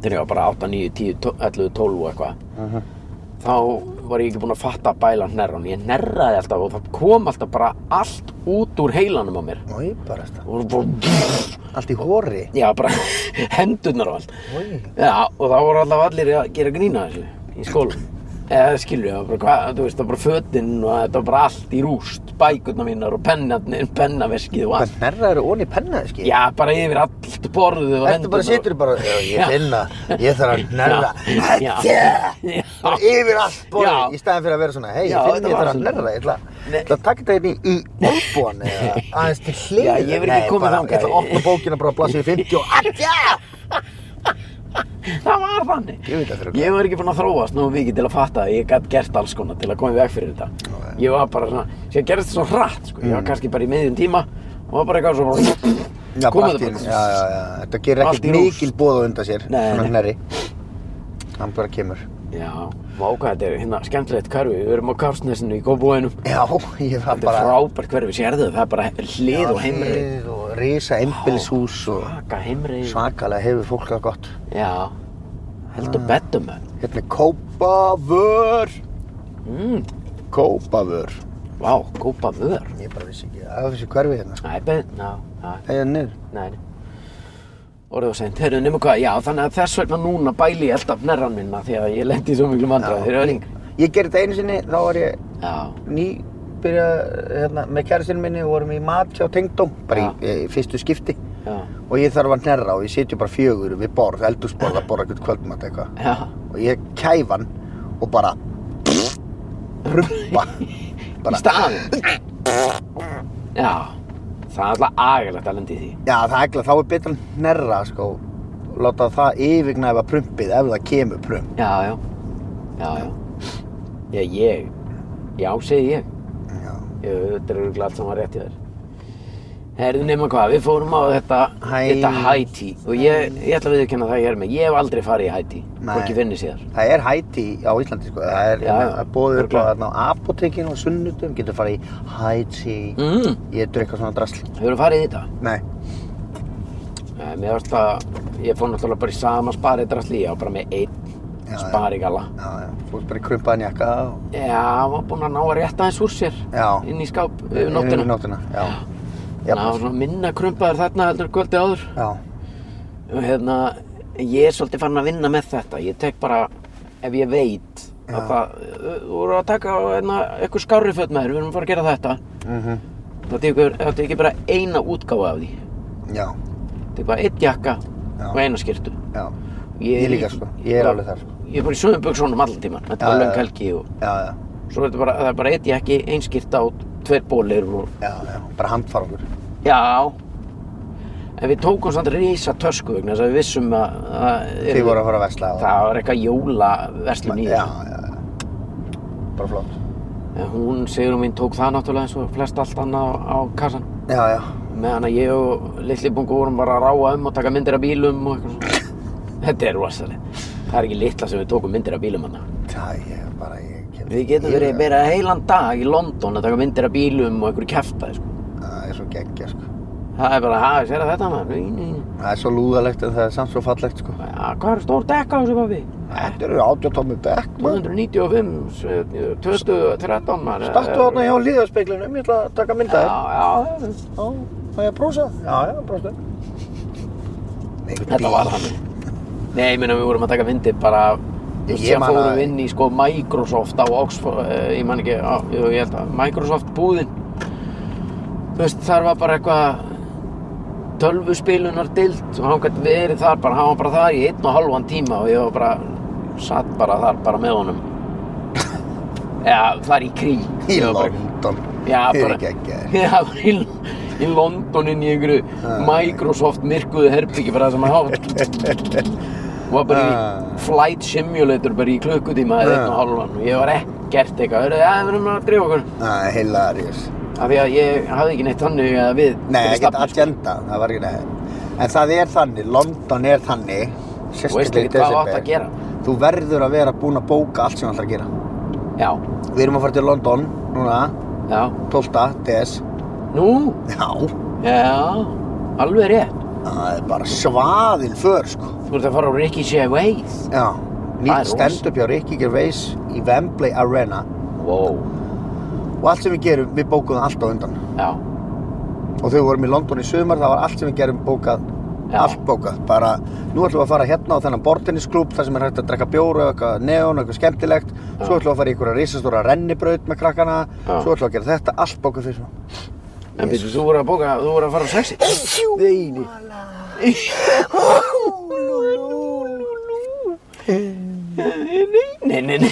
Þegar ég var bara 8, 9, 10, 11, 12 og eitthvað. Þá var ég ekki búinn að fatta að bæla hnerran. Ég hnerraði alltaf og það kom alltaf bara allt út úr heilanum á mér. Í, bara þetta. Og bara... Allt í hóri. Já, bara hendurnar og allt. Í. Já, og þá voru alltaf allir að gera grína þessu í skólan. Eða skilju, það var bara, hvað, þú veist, það var bara fötin og þetta var bara allt í rúst, bækurna mínar og pennarnir, pennaveskið og Hvað allt. nærraður og onni pennaði skil? Já, bara yfir allt borðið og Þetta bara situr bara, já, Já. ég finna, ég þarf að nærra. Já. Þetta! Já. Bara yfir allt Já. borðið, í staðin fyrir að vera svona, hei, Já, ég þetta finn, ég var þarf að svona. nærra. Ég ætla Nei. ég ætla að taka þetta hérna í, í olbúan eða aðeins til hlið. Já, ég hef ekki komið þangað. Ég ætla að opna bókina bara að blasa í 50 og aðja! Það var þannig. Ég veit það fyrir okkur. Ég var ekki búinn að þróast nógu mikið til að fatta að ég gætt gert alls konar til að koma í veg fyrir þetta. Já, já. Ég var bara svona, sem gerðist þetta svo hratt, sko. Ég var kannski bara í miðjum tíma og var bara eitthvað svo bara... Já, kom bara allt þetta í einu. Já, já, já. Þetta gerir Allt í ekkert rúst. mikil bóð á undan sér, Nei, svona nei. hnerri. Hann bara kemur. Já, vá hvað þetta er hérna skemmtilegt hverfi, við erum á Karsnesinu í Kópúinu. Já, ég Þetta var er bara... frábært hverfi, sérðu það, það er bara hlið og heimri. Hlið Og risa einbýlishús og Svaka heimri. svakalega hefur fólk það gott. Já, Ah. heldur betur með. Hérna er Kópavör. Mm, Kópavör. vá, kópa vör. Ég bara vissi ekki, það er þessi hverfi hérna. Æ, betur, ná, ná, Það er niður. Nei, nei. Orðið og seint, heyrðu, nema hvað, já, þannig að þess vegna núna bæli ég alltaf nærran minna því að ég lendi í svo miklu mandra, þeir eru yngri. Ég gerði þetta einu sinni, þá var ég Já, ný byrjað hérna, með kæristinu minni og vorum í mat hjá tengdóm, bara í, í fyrstu skipti. já, Og ég þarf að hnerra og ég sitja bara fjögur við borð, eldúsborð að borða eitthvað kvöldmat eitthvað. já, og ég kæf hann og bara rumpa í staðin. Já, það er alltaf agalegt að lendi í því. já það er ekki þá er betra að hnerra sko og láta það yfirgnæfa prumpið ef það kemur prump Já, já, já, já. Já, ég, já, segi ég. já. Ég, þetta er örugglega allt saman rétt í þér. Heyrðu, nema hvað, við fórum á þetta, Hæ- þetta Haiti og ég, ég ætla að viðurkenna það ég er með. Ég hef aldrei farið í Haiti, Nei. hvorki finni sér. það er hæti á Íslandi sko það er Já, já. það er boðið upp á Örugglega. þarna á apotekinu og sunnutum getur farið í hæti Mm, ég getur eitthvað svona drasl hefur farið í þetta? nei Nei, mér varst það, ég fór náttúrulega bara í sama sparið drasli, ég var bara með einn Já, já. sparigalla. já já þú ert bara í krumpaðan jakka og... Já, hann var búinn að ná að rétta eins úr sér Já. inn í skáp yfir nóttina. Yfir nóttina já Þannig að það var svona minna krumpaður þarna heldur en kvöldið áður. já Og hérna, ég er svolítið farin að vinna með þetta. Ég tek bara, ef ég veit, að það, þú voru að taka hérna, eitthvað skárri fött með þér, við erum að fara að gera þetta. mhm Þá tekur- þá tek ég bara eina útgáfa af því. já Tek bara einn jakka Já. og eina skyrtu. já Ég líka, sko. Ég er alveg þar, sko. Ég er bara í sömum buksónum allan tíman. Þetta Já, var já, löng já. helgi og já já svo er þetta bara, það er bara eitt jakki, ein skýrta og tveir bólir og já já bara handfarangur já. En við tókum samt rísa tösku vegna þess að við vissum að að- þið voru að fara að vesla og... það var eitthvað jólaverslun í Já, þessu. já, já. Bara flott. En hún, Sigrun mín, tók það náttúrulega eins og flest allt annað á, á kassan. Já, já. Meðan að ég og litli bungu vorum bara að ráa um og taka myndir af bílum og eitthvað svona. Þetta er rosalega. Það er ekki litla sem við tókum myndir af bílum hann. Það ég er bara, ég kemur. Við getum verið með. meira heilan dag í London að taka myndir af bílum og einhverju kæftaði sko. Það er svo geggja, sko. Það er bara, hæ, sér þetta maður? Nei, nei, nei. Það er svo lúðalegt en það er samt svo fallegt, sko. Ja, hvað er stór dekka á þessu pappi? Þetta eru átjóttómi bekk, maður. 295, 2013 maður. Stattu þarna hjá líðarspeglinum, ég ætla að taka mynda þér. Já, já, Já, það er að prósa. Já, já, prósa. þetta var hann. Nei, ég meina við vorum að taka myndir bara af- Ég- ég Síðan man fórum að- við inn í sko Microsoft á Oxford, eh, ég man ekki, á, jú, ég held að Microsoft búðin. Þú veist, þar var bara eitthvað tölvuspilunar dild og hann gæti verið þar bara, hann var bara þar í einn og halvan tíma og ég var bara, satt bara þar bara með honum. Já, þar í krík. Í Ég var bara- London. Já, Þið bara, eru geggjaðir. já, bara í, í London inn í einhverju Ah. Microsoft myrkuðu herbyggi bara það sem að hafa var bara Ah. í flight simulator bara í klukkutíma eða Ah. einn og hálfan og ég var ekkert eitthvað, hörðu, já, við erum að drífa okkur Það er hilarious. af því að ég hafði ekki neitt þannig að við Nei, fyrir ekkert stafni, sko. agenda, það var ekki neitt. En það er þannig, London er Þú þannig, veist sérstaklega í ekki hvað þú átt desember. að gera. þú verður að vera búinn að bóka allt sem þú ætlar að gera. Já, Við erum að fara til London núna, já. 12. DS. Nú, Já, já, alveg rétt. það er bara svaðil för, sko. Þú ert að fara á Ricky Gervais. Já, Það er nýtt stand-up hjá Ricky Gervais í Wembley Arena Wow, og allt sem við gerum, við bókum það allt á undan já, og þegar við vorum í London í sumar, það var allt sem við gerum bókað Já. allt bókað, bara nú ætlum við að fara hérna á þennan bortennisklúb þar sem er hægt að drekka bjóru, eitthvað neon, eitthvað skemmtilegt svo ætlum við að fara í einhverja risastóra rennibraut með krakkana, Já. svo ætlum við að gera þetta allt bókað fyrir svona en byrju, þú voru að bóka, þú voru að fara á sexi. Veini Nei, nei, nei.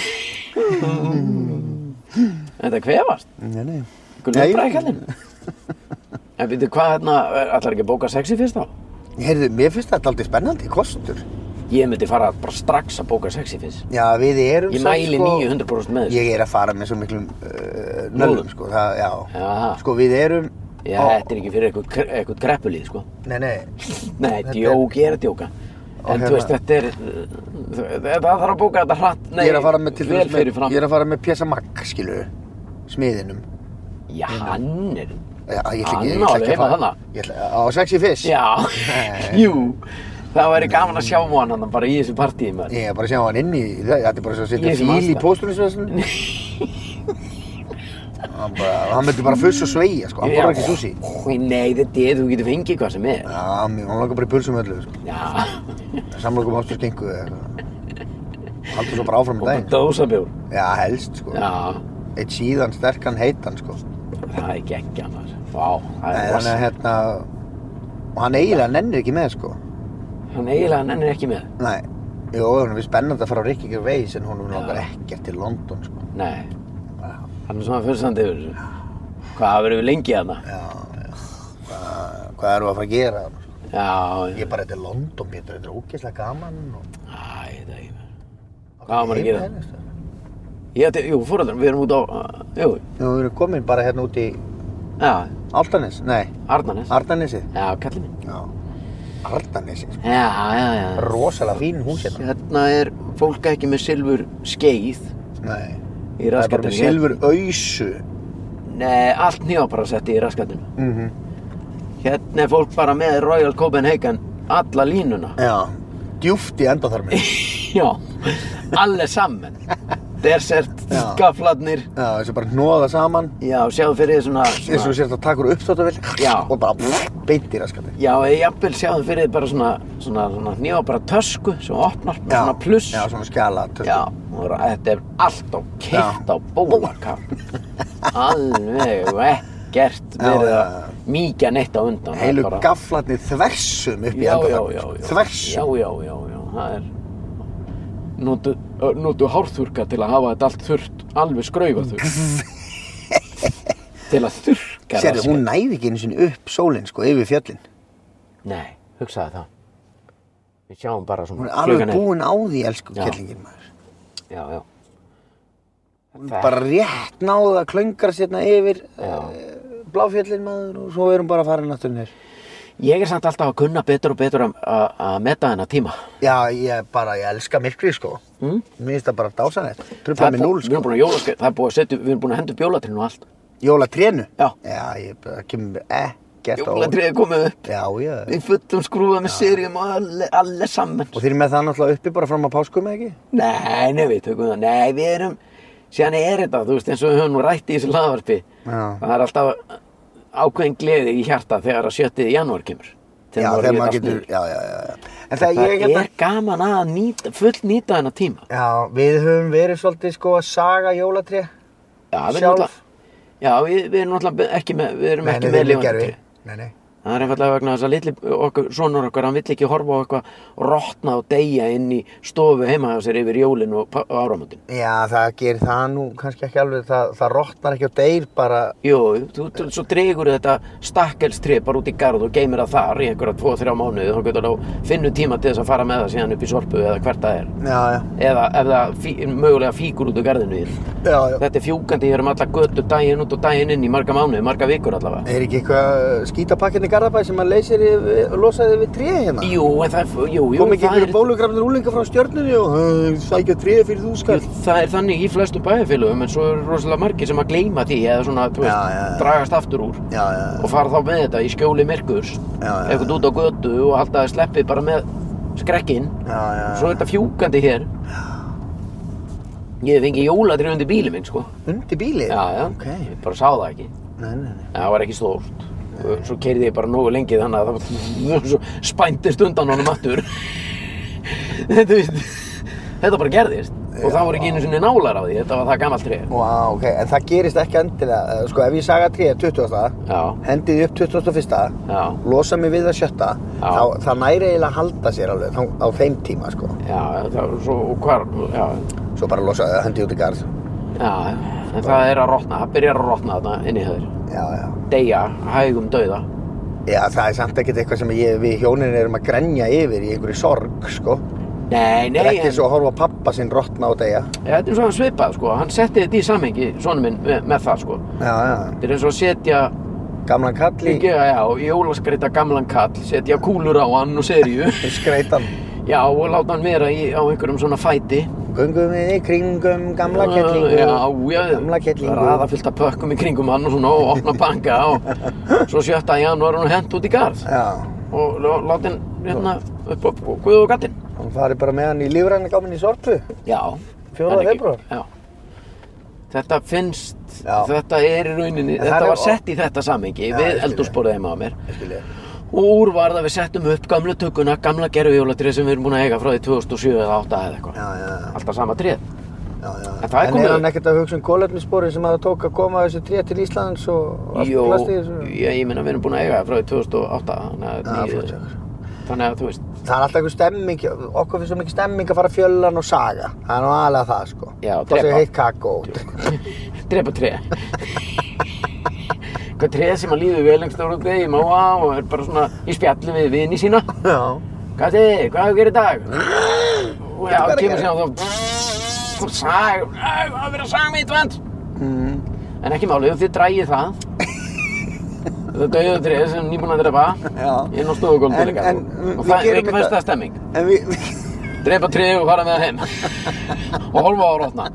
Þetta kvefast. Nei, nei Gunnar Nei. Brækallin. En byrju, hvað hérna, ætlar ekki að bóka sexi fyrst þá? Heyrðu, mér finnst þetta aldrei spennandi kostur Ég myndi fara bara strax að bóka sexi fyrst. Já, við erum Ég samt, mæli sko- 900% með þessu. Ég er að fara með svo miklum uh, nöllum, Lúðum. sko, það, já. Já. Sko, við erum... Já, á- þetta er ekki fyrir eitthvað, kre- eitthvað greppulíð, sko. Nei, nei, Nei, Þetta er- djók, ég er að djóka. Og En þú hérna- veist, þetta er, þetta þarf að bóka þetta hratt, nei, ég er að fara með, til vel dæmis fyrir með, fram. ég er að fara með Pésa Magg, skilu, smiðinum. Já, Hérna. hann er, Já, ég ætla ekki, Hann ég ætla á ekki heima að fara. þarna. Ég ætla, á sexy fish. já, Nei. jú, það væri gaman að sjá hann hann bara í þessu partíi, maður. Ég er bara að sjá hann inn í, það, þetta er bara svo að setja Ég fíl fíla í það. póstunisveslun. hann bara, hann myndi bara fuss og sveigja, sko, hann borðar ekki sushi. Í, nei, þetta er, þú getur fengið hvað sem er. Já, mér- hann langar bara í pulsum öllu, sko, Já, samlokum ástur skengu eða eitthvað. Haldur svo bara og áfram með bara daginn. dósabjór. Já, helst, sko. Já, Eitt síðan, sterkan, heitan, sko. það er geggja, maður. Vá, það er Nei, þannig að rosa. hérna og hann eiginlega nennir ekki með sko Hann eiginlega nennir ekki með. Nei, jú, hann er spennandi að fara á Ricky Gervais en honum langar ekkert til London sko Nei, Já, hann er svona fyrirsandi yfir þessu. Hvað, það verður við lengi þarna? já, já. Hvað, hvað erum við að fara að gera? Já, Ég bara, þetta er London, Pétur, þetta er ógeðslega gaman og... Æ, þetta er ekki með. Hvað á maður að gera? Heim með þér, veistu? Ég ætti, jú, fóröldar, við erum út á, uh, jú, Nú, við erum komin bara hérna út í já, Altanes, nei, Arnarnes. Ardanesi já, kallið minn. Já, Ardanesi, sko Já, já, já. Rosalega fín hús hérna Hérna er fólk ekki með silfur skeið Nei, í það er bara raskatinu. með silfur ausu Nei, allt nýjáparasetti í raskatinu. mm Hérna er fólk bara með Royal Copenhagen alla línuna. Já, djúft í endaþarminu já, alle sammen. Desert, Já. skafladnir. Já, þessi bara hnoða saman Já, sjáðu fyrir þið svona... eins og þú sért að taka úr uppþóttavill Já. og bara pff, beint í raskandi Já, eða jafnvel sjáðu fyrir þið bara svona, svona, svona nýjápara tösku sem opnar með svona pluss. Já, svona skjala Já, og þetta er allt á keitt á Já. bólakar Alveg og ekkert Já, verið já, já. að mýkja neitt á undan það er Heilu bara- gaflarnir þversum upp í Já, já, já, endaþarminu já sko. Já, Þversum já, já, já, það er Notu, ö, notu hárþurka til að hafa þetta allt þurrt alveg skraufa Til að þurrka Sérðu, rassinn. hún næði ekki einu sinni upp sólinn sko, yfir fjöllin Nei, hugsaði það Við sjáum bara svona Hún er alveg klukkan eitt. búin á því, elsku Já. kellingin maður Já, já Hún bara rétt náði að klöngra sérna yfir Já. eh, bláfjöllin maður og svo er hún bara farin aftur nér Ég er samt alltaf að kunna betur og betur að- að að meta þennan tíma Já, ég bara, ég elska myrkri sko Mm. Mér finnst það bara dásanett Það Trufla er mig bú- núl Við sko erum búin að jólaskei, það er búin að setja, við erum búin að henda upp jólatrénu og allt. Jólatrénu? Já. Já, ég það kemur mér ekkert á óvart. Jólatrénu komið upp Já, já. í fullum skrúfa með sérium og alle, alle saman. Og þeir eru með það náttúrulega uppi bara fram á páskum, eða ekki? Nei, nei, við tökum það, nei, við erum, síðan er þetta, þú veist, eins og við höfum nú rætt í þessu laðvarpi. Já. Það er alltaf ákveðin gleði í hjarta þegar að sjöttið í janúar kemur. Já, maður þegar lét maður allt getur, niður. já, já, já, já. En það, Það ég hérna, er gaman að nýta, full nýta þennan tíma. já, við höfum verið svolítið sko að saga jólatré. Já, við Sjálf. erum náttúrulega, já, við, við erum náttúrulega ekki með, við erum ekki með við lifandi gerði. tré. Nei, nei. Það er einfallega vegna þess að litli okkur, sonur okkur, hann vill ekki horfa á eitthvað rotna og deyja inn í stofu heima hjá sér yfir jólin og, pa- og áramöndin. Já, það gerir það nú kannski ekki alveg, það, það rotnar ekki á deyr bara, Jú, þú, þú, svo dregur þetta stakkelstrið bara út í garð og geymir það þar í einhverja 2-3 mánuði þá getur þá finnu tíma til þess að fara með það síðan upp í sorpu eða hvert það er. já, já, Eða ef það fí, mögulega fíkur út úr garðinu í þér. já, já. Þetta er fjúkandi, ég erum alla götu daginn út og daginn inn í marga mánuði, marga vikur allavega. Er ekki eitthvað skítapakkinni Garðabæ sem að leysir yfir, losaði við tréð hérna? Jú, en það, er- jú, jú, Kom ekki það einhverju er, bólugrafnir úlinga frá stjörnunni og "Æ, sækja tréð fyrir þú skall? jú, það er þannig í flestum bæjarfélögum en svo eru rosalega margir sem að gleyma því eða svona, þú veist, Já, já, já. dragast aftur úr Já, já, já. og fara þá með þetta í skjóli myrkurs Já, já, eitthvað út á götu og alltaf sleppið bara með skrekkinn já, já, já. svo er þetta fjúkandi hér ég hef fengið jóladrið undir bílið minn sko Undir bílið? já, já, Ok. ég bara sá það ekki Nei, nei, nei. en það var ekki stórt svo keirði ég bara nógu lengi þannig að það var svo spændist undan honum aftur þetta, veist, þetta bara gerðist og það voru ekki einu sinni nálar á því þetta var það gamalt tref Vá, ok. En það gerist ekki endilega. eh, Sko, ef ég saga tréð 20. já, Hendið upp 21. já, Losa mig við að sjötta. Já. Þá, það næri eiginlega að halda sér alveg þá, á þeim tíma, sko. já, það var svo og hvar, já, Svo bara losa það, hendið út í garð. já en það er að rotna, það byrjar að rotna þarna inn í höður Já, já. deyja, hægum dauða Já, það er samt ekkert eitthvað sem ég, við hjónin erum að grenja yfir í einhverju sorg, sko. nei, nei, Það er ekki en- eins og að horfa á pappa sinn rotna á degja. Ja, Þetta er svona svipað sko, hann setti þetta í samhengi, sonur minn, með, með það sko. Já, já. Þetta er eins og að setja, Gamlan kalli, ekki, já, jólaskreita gamlan kall, setja kúlur á hann og serju, skreitan. já, og láta hann vera í, á einhverjum svona fæti. Gungum við í kringum, gamla kettlingu. Ah, Já, já, Gamla kettlingu. raða fyllt af pökkum í kringum hann og svona, og opna banka og svo sjötta í hann var hann hent út í garð Já, og lá- láta hann hérna upp á á guð og gattinn. hann fari bara með hann í lífræni gáminn í sorpu. Já. en Fjórða ekki- febrúar. Já. Þetta finnst, Já. þetta er í rauninni, En það þetta er- var sett í þetta samengi Já, ég við skil eldúsborðið heima á mér. Ég skil ég. Og úr var það við settum upp gamla tökuna, gamla gerfijólatrið sem við erum búin að eiga frá því 2007 eða 2008 eða eitthvað. Já, já, já. Alltaf sama tréð. já, já. En það er En komið- er hann ekkert að hugsa um kólefnisporin sem það tók að koma þessu tré til Íslands og allt Jó, plastið þessu? ég, ég meina við erum búin að eiga það frá því 2008, þannig að, Já, níu- flott hjá þér. þannig að þú veist, Það er alltaf einhver stemming, okkur finnst svo mikið stemming að fara fjöllan og saga. Það er nú aðlega það, sko. Já, Það sé drepa. heitt kakót. drepa tréð. Hvað tréð sem að líður vel lengst ára og greiði máa og er bara svona í spjalli við vini sína. Já. Gatti, hvað hefur gerðið í dag? Og já, Hvað er að kemur gera? síðan þá Þú sag, það var að vera að saga mig í dvend En ekki máli, ef þið drægið það Það dauðu trið sem nýbúin að drepa Já. Inn á stofugólf En- til ykkar en Og við það er gerum ekki þetta. fæsta stemming En við, við, Drepa trið og fara með það heim Og hólfa á rótna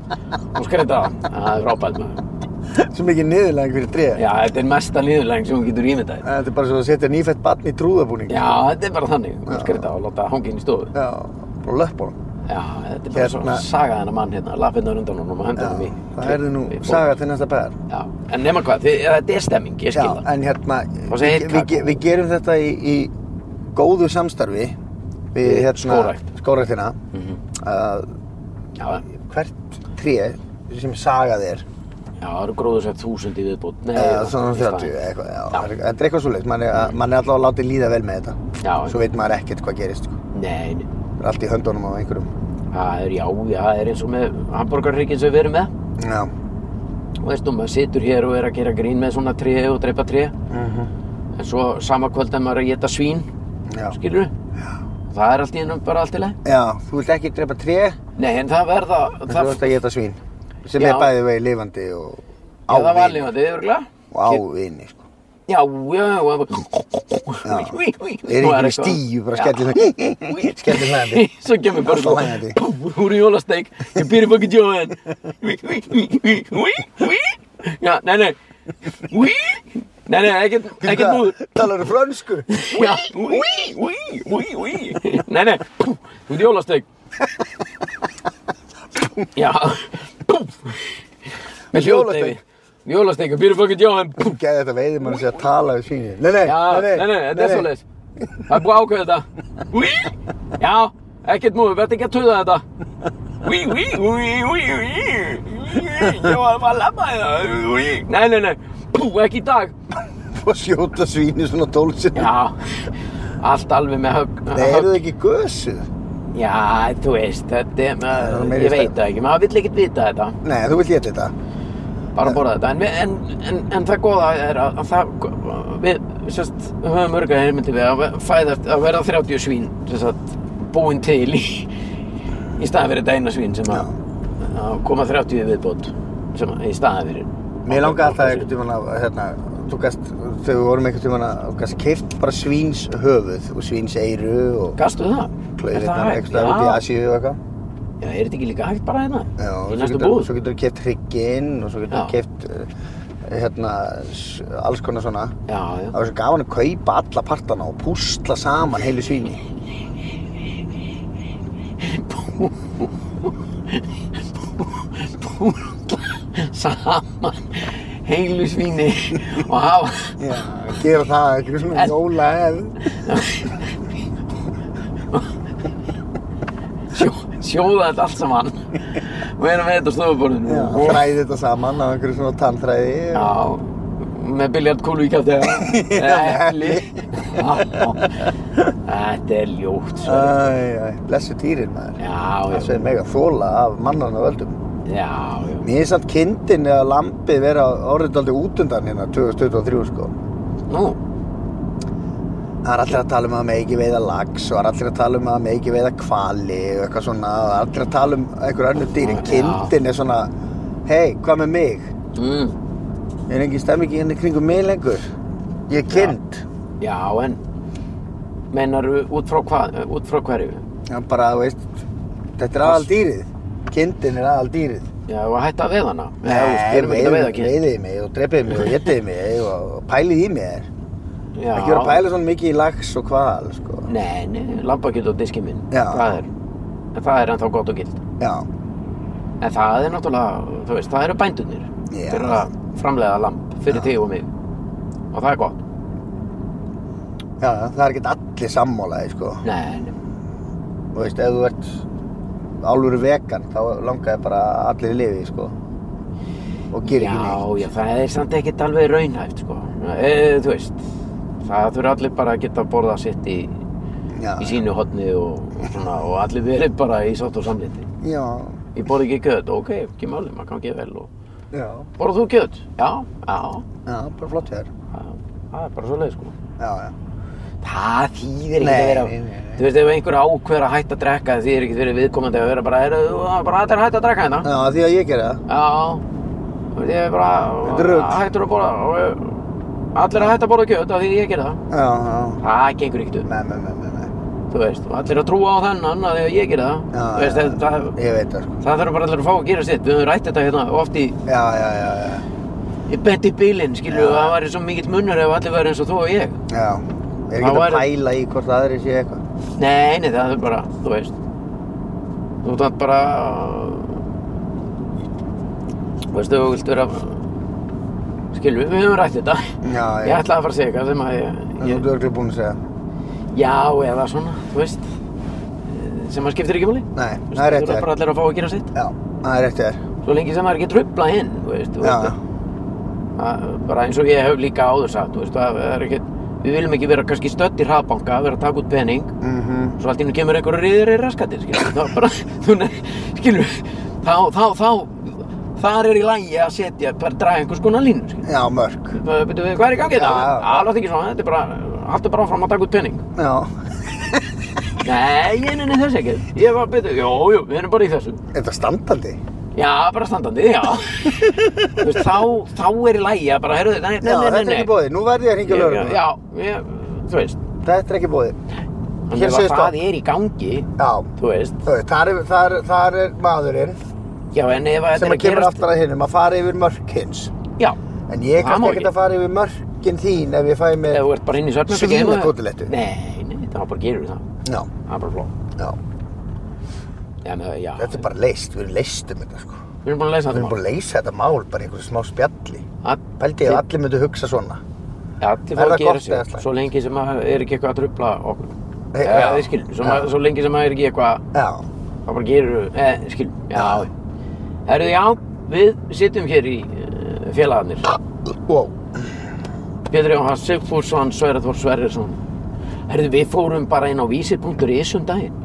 Og skreita það Það er frábært maður svo mikið niðurlega fyrir tré. Já, þetta er mesta líðurlæng sem hún getur ímyndað þér. Þetta er bara svo að setja nýfætt barn í trúðabúning. Já, þetta er bara þannig Og skreita og láta hangja inn í stofu Já. Bara löpp honum. Já, þetta er bara Hérna- svo saga þennan mann hérna, lappinnar undan honum og hendur Já. honum í. Það er nú í fólk. saga til næsta bæðar. Já, en nema hvað, þið, þetta er stemming, ég skil Já, það. en hérna, Og segir við, kakó. við, við gerum þetta í, í góðu samstarfi við Við Mhm. hérna, skógrækt. skóræktina að Já, hvert tré sem sagað er já, það eru gróðusett þúsund í viðbútt. Nei, eða svona í 30 staðinn. eða eitthvað, já, Já. Mm. það er- þetta er eitthvað svoleiðis, mann er, man er alltaf að láta líða vel með þetta Já. svo veit maður ekkert hvað gerist sko. Nei, nei, Það er allt í höndunum á einhverjum það er, já, já, það er eins og með hambúrgarrikkin sem við erum með. Já, Og veist, og maður situr hér og er að gera grín með svona tré og dreipa tré. En svo sama kvöld að maður er að geta svín, já. skilur Það er allt í ennum bara allt í leið. já þú vilt ekki drepa tré Nei, en það verða, en þú það, vilt að geta svín sem Já. er bæði vegi lifandi og já, það var ávini lífandi, örugglega. og ávini sko. Já, já, já, og það Já. er einhverju stíu bara skellir hlæ- skellir hlæðandi Svo kemur bara Alltaf hlæjandi. sko, pú, úr í jólasteik, ég býr í fokki tjóðan. Já, nei, nei. Úí. Nei, nei, ekkert, ekkert múður. Talar þú frönsku? Já, úí, úí, úí, úí. Nei, nei, pú, úr í jólasteik. Já, pú. Með hljóðdeifi. Jólasteik. Jólasteik, ég býr í fokki tjóðan. Pú. Gæði þetta veiði mann að segja tala við svínin. Nei, nei, Já, nei, nei, þetta er svo leis. Það er búið að ákveða þetta. Úi, já, ekkert múið, verði ekki að tuða þetta. Úi, úi, úi, úi, úi, úi, ég var að fara að labba það, úi. Nei, nei, nei, pú, ekki í dag. Og sjóta svínin svona tólsinn. Já, allt alveg með högg. Nei, eru þið ekki gösuð? Já, þú veist, þetta er, Það er maður, meiri ég veit stefna. það ekki, maður vill ekkert vita þetta. Nei, þú vilt geta þetta. bara að borða þetta en, við- en, en, en það góða er að, að það, við sérst, höfum örga heimildi við að fæðast að verða 30 svín sérst, búin til í, í staðan fyrir þetta eina svín sem að, að koma 30 í viðbót sem að, í staðan fyrir Mér langaði alltaf einhvern tímann að hérna, þú gast, þegar við vorum einhvern tímann að þú gast keift bara svíns höfuð og svíns eiru og hérna, Gastu það? Er það klauðirnar hægt? eitthvað út í Já. Asíu og eitthvað. Já, er þetta ekki líka hægt bara hérna? Já, og Í svo næstu getur- búð? Svo getur þú keift hrygginn og svo getur Já. þú keift uh, hérna, s- alls konar svona. Já, já. Það var svo gaman að kaupa alla partana og púsla saman heilu svíni. Saman heilu svíni og hafa Já, gera það, eitthvað svona En- jóla eð. sjó, sjóða þetta allt saman og vera með þetta á stofuborðinu. Já, þræði þetta saman á einhverju svona tannþræði. Já, með biljartkúlu í kjátti eða hefli. Þetta er ljótt svo. Æj, æj, blessu týrin maður. Já, Það já, sem mega þóla af mannarna völdum. já, já. Mér er samt kindin eða lampið vera orðið aldrei út undan hérna 2023 sko. Nú, Það er allir að tala um að með ekki veiða lax og það er allir að tala um að með ekki veiða hvali og eitthvað svona. Það er allir að tala um einhver önnur dýr en Já. kindin er svona, hei, hvað með mig? mm, Er engin stemmingi hérna í kringum mig lengur? Ég er kind. já, en meinaru út frá hvað, út frá hverju? Já, bara, þú veist, þetta er aðal dýrið. Kindin er aðal dýrið. Já, og að hætta að veða hana. Já, þú veist, erum ekki að veiða ekki. veiðið mig og drepið mig og getið mig og pælið í mér. Já. Ekki vera að pæla svona mikið í lax og hval, sko. Nei, nei, lambakjöt á diski minn. Já. Það er, en það er ennþá gott og gild. Já, En það er náttúrulega, þú veist, það eru bændunir. Já. Þeir eru að framleiða lamb fyrir þig og mig. Og það er gott. já, það er ekkert allir sammálaði, sko. Nei, nei. Þú veist, ef þú ert álfur vegan, þá langaði bara að allir lifi, sko. Og gera já, ekki neitt. já, það er samt ekkert alveg raunhæft, sko. E, þú veist, það þurfa allir bara að geta borða sitt í, Já, í sínu hotni og, og svona, og allir verið bara í sátt og samlindi. já, Ég borði ekki kjöt, ok, ekki máli, maður kann ekki vel. Og... já, Borða þú kjöt? Já, já, já, bara flott hér. það, það er bara svo leið, sko. Já, já. Það þýðir ekki Nei, að vera nei, nei, nei. Þú veist, ef einhver ákveður að hætta að drekka það þýðir ekki fyrir viðkomandi að vera bara er, bara hættir að hætta að drekka hérna Já, því að ég gera það. Já Þú veist, ég er Þetta er rugl. bara hættur að borða og ég- Allir að hætta að borða kjöt af því ég ger það Já, já. Það gengur ekkert upp, Nei, nei, nei, nei, nei. þú veist og Allir að trúa á þennan af því að ég ger það Já, Þú veist, já, það, það, Ég veit það, sko. það þurfa bara allir að fá að gera sitt Við höfum rætt þetta hérna oft í, Já, já, já, já. í benti bílinn skilur Já. við, það væri svo mikill munur ef allir væri eins og þú og ég Já. Er Þá ekki að væri- pæla í hvort aðri sé eitthvað. Nei, nei, það er bara, þú veist Þú þarf bara Þú veist, þú vilt vera Skilvi, við höfum rætt þetta Já, já. Ég ætlaði að fara að segja eitthvað sem að ég, Það er ég þú örglega búin að segja. Já, eða svona, þú veist eh, sem að skiptir ekki máli Nei, Þú veist, það er rétt þurfa hér. bara allir að fá að gera sitt Já, það er rétt hér. Svo lengi sem maður er ekki trubla hinn, þú veist, þú Já, veist að, bara eins og ég hef líka áður sagt, þú veist, að, er ekki, við viljum ekki vera kannski stödd í hraðbanka, vera að taka út pening mhm. svo allt í hennu kemur einhverju riður í raskatinn skilur, þá bara, þú ne- skilur þá, þá, þá þar er í lagi að setja, bara draga einhvers konar línu, skilur Já, mörg. Bara, byrju, hvað er í gangi Já, já. þetta? alveg ekki svona, þetta er bara haldur bara áfram að taka út penning Já. nei, ég nenni þess ekki ég var betur, jú, jú, við erum bara í þessu Þetta er standandi. já, bara standandi, já Þú veist, þá, þá er í lagi að bara, heyrðu, nei, nei, Já, nei, þetta nei, er nei. ekki bóðið. Nú verði ég að ringja Ég- lögum. já, ég, þú veist Þetta er ekki bóðið. þannig að segir stopp. það er í gangi Já. þú veist, þú veist, Þar er, þar, þar er maðurinn já, en ef að þetta er sem að að kemur gerast aftur að hinnum að fara yfir mörk hins. já, En Það ég er má kannski ekkert ekki. að fara yfir mörkin þín ef ég fæ ef með... þú ert bara inn í svefnherbergi heima- Svínakotulettu. Nei, nei, þá bara gerir það Já, Það er bara flott já. Já, með, já Þetta er bara leist. Við erum leist um þetta, sko. Við erum búin að leysa þetta Við erum mál búin að leysa þetta mál bara í einhverju smá spjalli. All- Pældi ég að allir myndu hugsa svona. Allir Er fá að það gera gott eða sér slæmt? Svo lengi sem að er ekki eitthvað að trubla okkur Nei, Já, já. þið skilur Svo, ma- Já. svo lengi sem að er ekki eitthvað Já, þá bara gerir eh, Skil, já Herðu, já, við sittum hér í uh, félagarnir wow. Pétur Jóhann Sigfússon, Sverre Þór Sverrisson Herðu, við fórum bara inn á vísir.is um daginn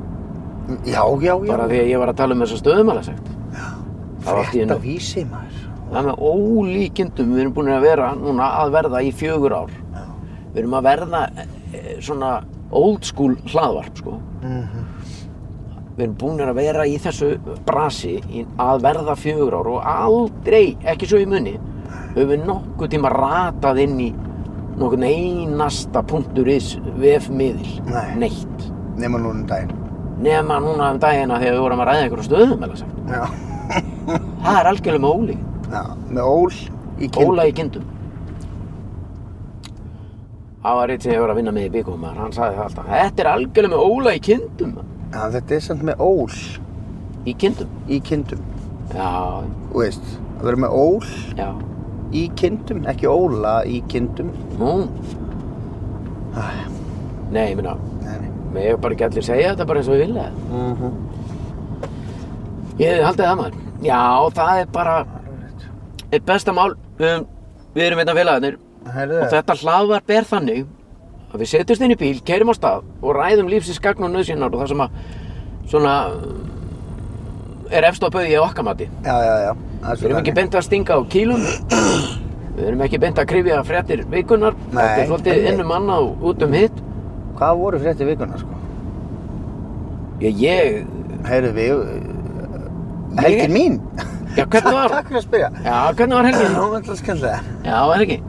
Já, já, já. Bara því að ég var að tala um þessa stöðum alveg sagt Það var allt í Frétt einu- á vísi, maður. Það er með ólíkindum, við erum búin að vera núna að verða í fjögur ár. Við erum að verða eh, svona old school hlaðvarp, sko. Mhm. Við erum búin að vera í þessu brasi í- að verða fjögur ár og aldrei, ekki svo í munni, höfum við nokkuð tíma ratað inn í nokkurn einasta punktur is vefmiðil, Nei. neitt nema núna um daginn. nema núna um dagina þegar við vorum að ræða einhverjum stöðum eða sagt. Já. það er algjörlega með óli Já, með ól í kind. óla í kindum það var eitt sem ég var að vinna með í byggum hann sagði það alltaf, þetta er algjörlega með óla í kindum maður." Já, þetta er samt með ól í kindum í kindum. já, Þú veist, að vera með ól já, í kindum, ekki óla í kindum. nú Æ. nei, ég minna, Nei, nei. Mér hefur bara ekki allir segja þetta bara eins og ég vilja. Mm -hmm. Mhm. Ég hefði haldið það maður. Já, það er bara eitt besta mál. Um, við erum einna félagarnir Herðu, og þetta hlaðvar ber þannig að við setjumst inn í bíl, keirum á stað og ræðum lífsins gagn og nöðsynnar og það sem að svona uh, er efst á bauði í okkar mati. Já, já, já. Það Við erum þannig. ekki beint að stinga á kílum. Við erum ekki beint að krifja fréttir vikunar. Nei. Þetta er svolítið inn um annað og út um hitt. Hvað voru frétti vikuna, sko? Já, ég... Heyrðu, við... Helgin mín. Já, hvernig var? Takk fyrir að spyrja. Já, hvernig var helgin? Nú, ætla að skemmta það. Já, er ekki?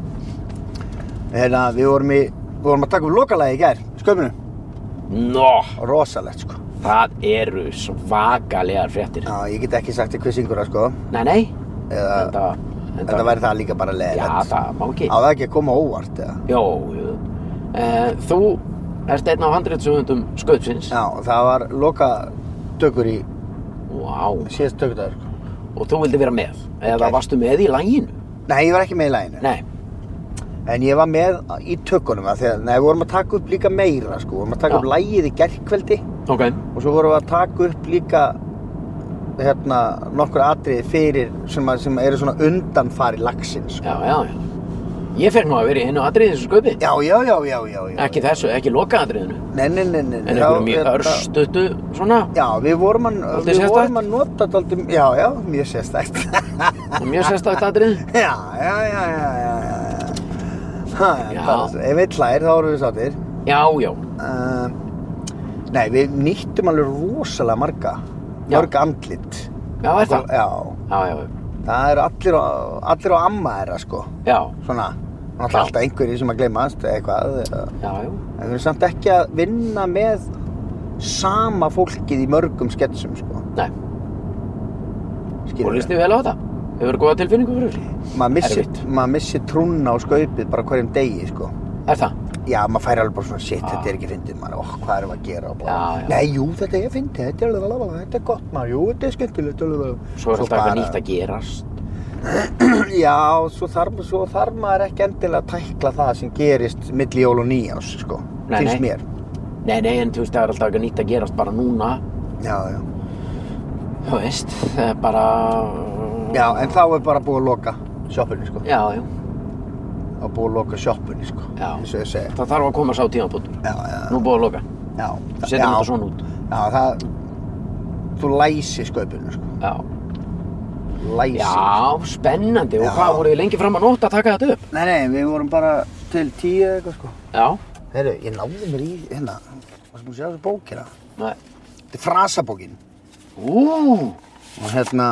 Hérna, við vorum í... Við vorum að taka upp lokalagi í gær, sköpinu. Nó, Rosalegt, sko. það eru svakalegar fréttir. Já, ég get ekki sagt þér hver syngur það, sko. Nei, nei, Eða, þetta, þetta væri það líka bara Já, leiðilegt. það má ekki. Á það ekki að koma óvart, eða? Jó, jú. Eh, þú ert einn af handriðsöfundum skautsins. Já, það var loka tökur í Vá, síðast tökudagur, sko. og þú vildi vera með. Eða Gert. varstu með í læginu? Nei, ég var ekki með í læginu. Nei, En ég var með í tökunum að þegar, nei, við vorum að taka upp líka meira, sko. Við vorum að taka Já. upp lægið í gerkveldi ok. og svo vorum við að taka upp líka, hérna, nokkur atriði fyrir sem, að, sem eru svona undanfari lagsins, sko. Já, já, já. Ég fer nú að vera í einu atriði þessu skaupi. Já, já, já, já, já, já. Ekki þessu, ekki lokaatriðinu. Nei, nei, nei, nei. En þá- einhverju mjög þetta- örstuttu svona Já, við vorum að, Dálítið við vorum sérstakt? að nota daldum, já, já, mjög sérstækt. og mjög sérstakt atrið. já, já, já, já, já, já. Ha, Já. bara- Ef við hlær, þá erum við sáttir. Já, já, uh, Nei, við nýttum alveg rosalega marga Já. Mörg andlit já, er það? Já, Já, já, það eru allir á, allir á amma þeirra sko já, Svona, náttúrulega Já. alltaf einhverjir sem að gleymast eða eitthvað eh, já, já. En við erum samt ekki að vinna með sama fólkið í mörgum sketsum sko Nei, og Skilurðu? líst þið vel á þetta? Hefur það góða tilfinningu fyrir þessu? Maður missir, erfitt. maður missir trúnna á skaupið bara á hverjum degi sko Er það? Já, maður fær alveg bara svona, shit, Já. þetta er ekki fyndið maður, oh, hvað erum við að gera og blá. Já, já. Nei, jú, þetta er fyndið, þetta er alveg alveg, þetta er gott maður, jú, þetta er skemmtilegt alveg alveg. Svo er alltaf eitthvað nýtt að gerast. að... Já, svo þarf, svo þarf maður ekki endilega að tækla það sem gerist milli jól og nýjás, sko, Nei, finnst nei. mér. Nei, nei, en þú veist, það er alltaf eitthvað nýtt að gerast bara núna. Já, já. Þú veist, það er bara... Já, en þá er bara búið að loka sjoppunni, sko, Já, já. og búið að loka sjoppunni, sko, Já. eins og ég segi. Það þarf að koma sá tímabútur. Já, já, Nú er búið að loka. já. Setjum já, þetta svona út. Já, það, þú læsi skaupinu, sko, Já. læsi. Já, spennandi. Já. Og hvað voruð þið lengi fram að nótt að taka þetta upp? Nei, nei, við vorum bara til tíu eða eitthvað, sko. Já. Herru, ég náði mér í hérna, varstu búinn að sjá þessu bók hérna? Nei. Þetta er frasabókin. Ú, Og hérna,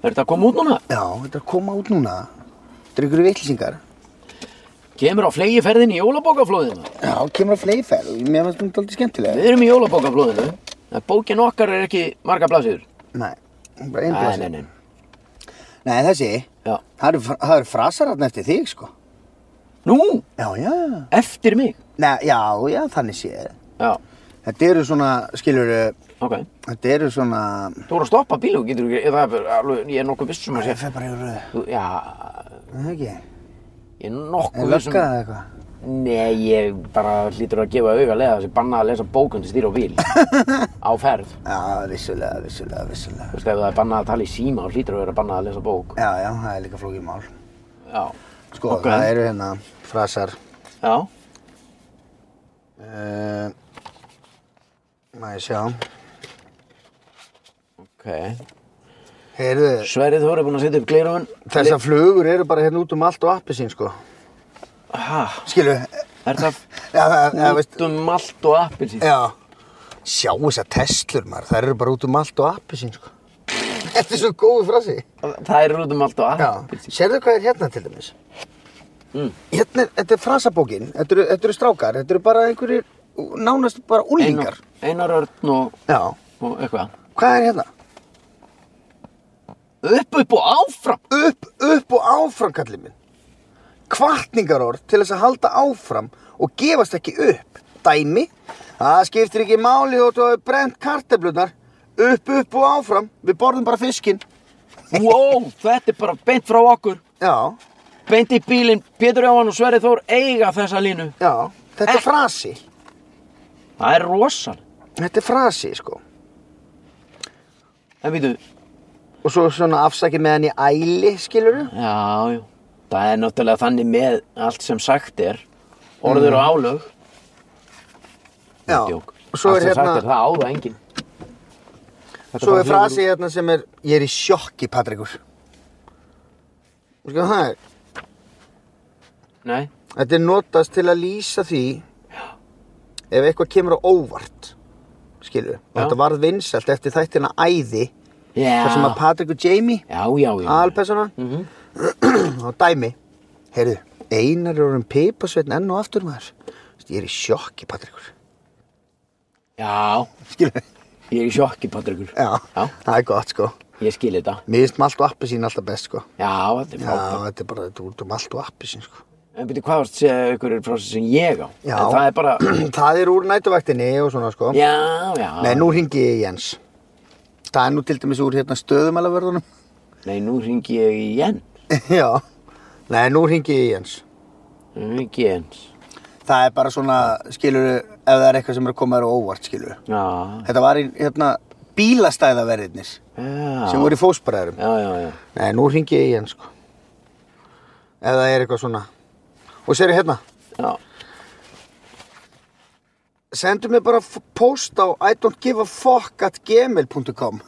er þetta að koma út núna? já, þetta er að koma út núna. Þetta er ykkur vitlisingar. Kemur á flegi ferðin í jólabókaflóðinu. Já, kemur á fleifær og mér finnst þetta aldrei skemmtilega. Við erum í jólabókaflóðinu. En bókin okkar er ekki marga blásir. Nei, hún er bara einn blaðsíða. nei, nei. Nei, þessi, Já. það eru það eru frasar hérna eftir þig, sko. Nú, Já, já, já. eftir mig. Nei, já, já, þannig séð. Já, Þetta eru svona, skilur, ok. þetta eru svona... Þú voru að stoppa bíl og getur ekki, það er alveg, ég er nokkuð viss um að sé. Ég fer bara yfir röðu. Þú- Já, Það ekki? ég er Er nokkuð viss um. löggað eða eitthvað? Nei, ég bara hlýtur að gefa auga leiða þessi bannað að lesa bókun til stýra á bíl. á ferð. Já, vissulega, vissulega, vissulega. Þú veist, ef það er bannað að tala í síma og hlýtur að vera bannað að lesa bók. Já, já, það er líka flókið mál. Já. Sko, Ok. það eru hérna frasar. Já. Uh, má ég sjá. Ok. Heyrðu, Sverið, þú voru búin að setja upp gleirun. þessar flugur eru bara hérna út um allt og appi sín, sko. Hæ, Skilu, er það já, það, já, veist, út um allt og appið síðan? já. Sjá þessar Teslur, maður, þær eru bara út um allt og appi sín, sko. Þetta er svo góðu frasi. það er út um allt og að. Já, sérðu hvað er hérna til dæmis? Mm. Hérna, er- þetta er frasabókin, þetta eru, þetta eru strákar, þetta eru bara einhverjir, nánast bara úlingar. Einar, Einar Örn og, Já, og eitthvað. hvað er hérna? Upp, upp og áfram. Upp, upp og áfram, kallið minn. Kvartningarorð til þess að halda áfram og gefast ekki upp. Dæmi, það skiptir ekki máli og þú hefur brent karteflunar. Upp, upp og áfram, við borðum bara fiskinn. Wow, þetta er bara beint frá okkur. Já, Beint í bílinn, Pétur Jóhann og Sverri Þór eiga þessa línu. já, þetta Eh. er frasi. Það er rosan. Þetta er frasi, sko. En veitu, Og svo svona afsakið með hann í æli, skilurðu? já, já. Það er náttúrulega þannig með allt sem sagt er. Orður og álög. Mm. Já. Djók. Og svo allt er sem sagt er hérna, það áða enginn. Þetta svo bara hljómar er út- frasi hérna sem er, ég er í sjokki, Patrikur. Og sko, það er, Nei, þetta er notast til að lýsa því ef eitthvað kemur á óvart, skilurðu? Og Já. þetta varð vinsalt eftir þættina æði, já, þar sem að Patrikur Jamie, já, já, já. aðalpersona, Mhm. og dæmi, heyrðu, einar er orðin pipasveitn enn og aftur maður. Þú veist, Ég er í sjokki, Patrikur. Já, Skilurðu? ég er í sjokki, Patrikur. Já, Já. það er gott, sko. Ég skil þetta. Mér finnst malt og appi sín alltaf best sko. Já, þetta er Já, frábært. þetta er bara þetta er út um allt og appi sín sko. En byrju, hvað varst að segja ykkur er frásið sem ég á? Já. En það er bara... það er úr nætuvæktinni og svona sko. Já, já. Nei, nú ringi ég í Jens. Það er nú til dæmis úr hérna stöðumælavörðunum. Nei, nú hringi ég í Jens. Já. Nei, nú ringi ég í Jens. Ekki Jens. Það er bara svona, skilur, ef það er eitthvað sem er að koma þér á óvart, skilur. Já. Þetta var í hérna bílastæðaverðirnir Já. sem voru í fósbræðurum. Já, já, já. Nei, nú ringi ég í Jens sko. Ef það er eitthvað svona. Og sér hérna, Já. sendu mér bara f- post á I don't give a fuck at gmail.com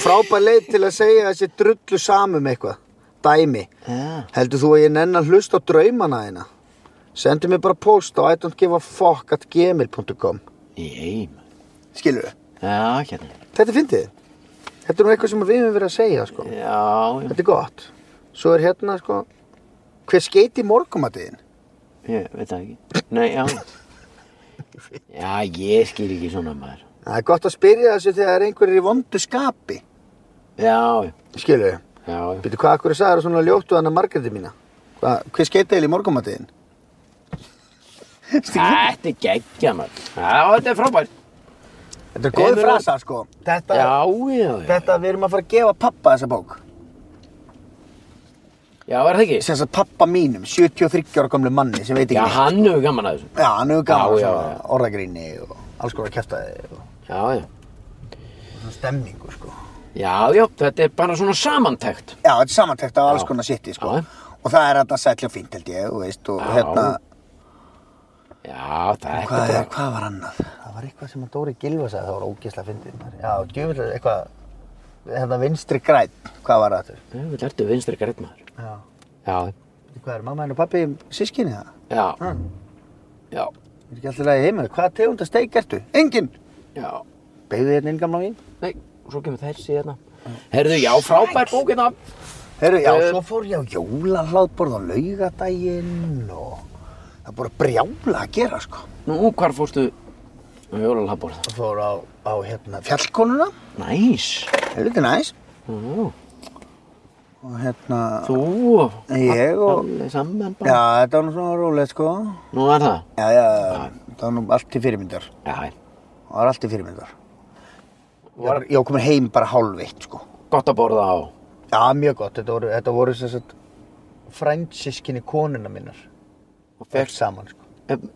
Frábær leið til að segja þessi drullu samum eitthvað Dæmi Já. Heldur þú að ég nenn að hlusta á draumana þína? Sendu mér bara post á I don't give a fuck at gmail.com Ég, maður. Skilur við? Já, hérna. Þetta finnst þið? Þetta er nú eitthvað sem við höfum verið að segja sko Já, já. Þetta er gott Svo er hérna sko Hver skeiti morgumatiðin? Ég veit það ekki. Nei, já. Já, ég skil ekki svona maður. Það er gott að spyrja þessu þegar einhver er í vondu skapi Já, já. Skilur við? Já, já. Býtu, hvað akkur er sagður svona ljóttu hana Margréti mína? Hva, hver skeita eil í morgumatiðin? Þetta er geggja maður. Já, þetta er frábært. Þetta er góð Emil- frasa, sko. Þetta, Já, já, já. þetta við erum að fara að gefa pappa þessa bók. Já, er það ekki? Sem þess að pappa mínum, 73 ára gamlu manni sem veit ekki. Já, neitt. hann hefur gaman að þessu. Já, hann hefur gaman Já, já, svona já. orðagríni og alls konar kæftæði og Já, já. svona stemmingu, sko. Já, já, þetta er bara svona samantekt. Já, þetta er samantekt af alls Já. konar sitti, sko. Já. Og það er þetta sætla fínt, held ég, og veist, og Já. hérna, Já, það er hvað, ekkert er, bara... hvað var annað? Það var eitthvað sem að Dóri Gilva sagði, það var ógeðslega fyndið. maður. Já, djöfull, eitthvað, hérna vinstri græn, hvað var það þurr? Hvað? Við lærtu vinstri grætt maður. Já. Já, Hvað er, mamma henni og pappi sískinni það? já, Ha? já, Er ekki alltaf lagi heima? Hvaða tegunda steik ertu? Engin! já. Beigðu hérna inn gamla mín. Nei, svo kemur þessi hérna. Herðu, já, frábær bók hérna. Herru, já, Eh. svo fór ég á jólahlaðborð á laugadaginn og það er bara brjála að gera, sko. Nú, hvar fórstu á jólalabborða? Það fór á, á hérna, fjallkonuna. Næs. Helviti næs. Ú, Og hérna, Þú og... ég og... Allir saman Já, bara. þetta var nú svona rólega, sko. Nú er það. Já, já, það var nú allt til fyrirmyndar. Já, já. Það var allt til fyrirmyndar. Var... Ég var komin heim bara hálfveitt, sko. gott að borða á. Já, mjög gott. Þetta voru, þetta voru sem sagt fransískinni konuna minnar. Og Fekk fékkst- saman, sko. En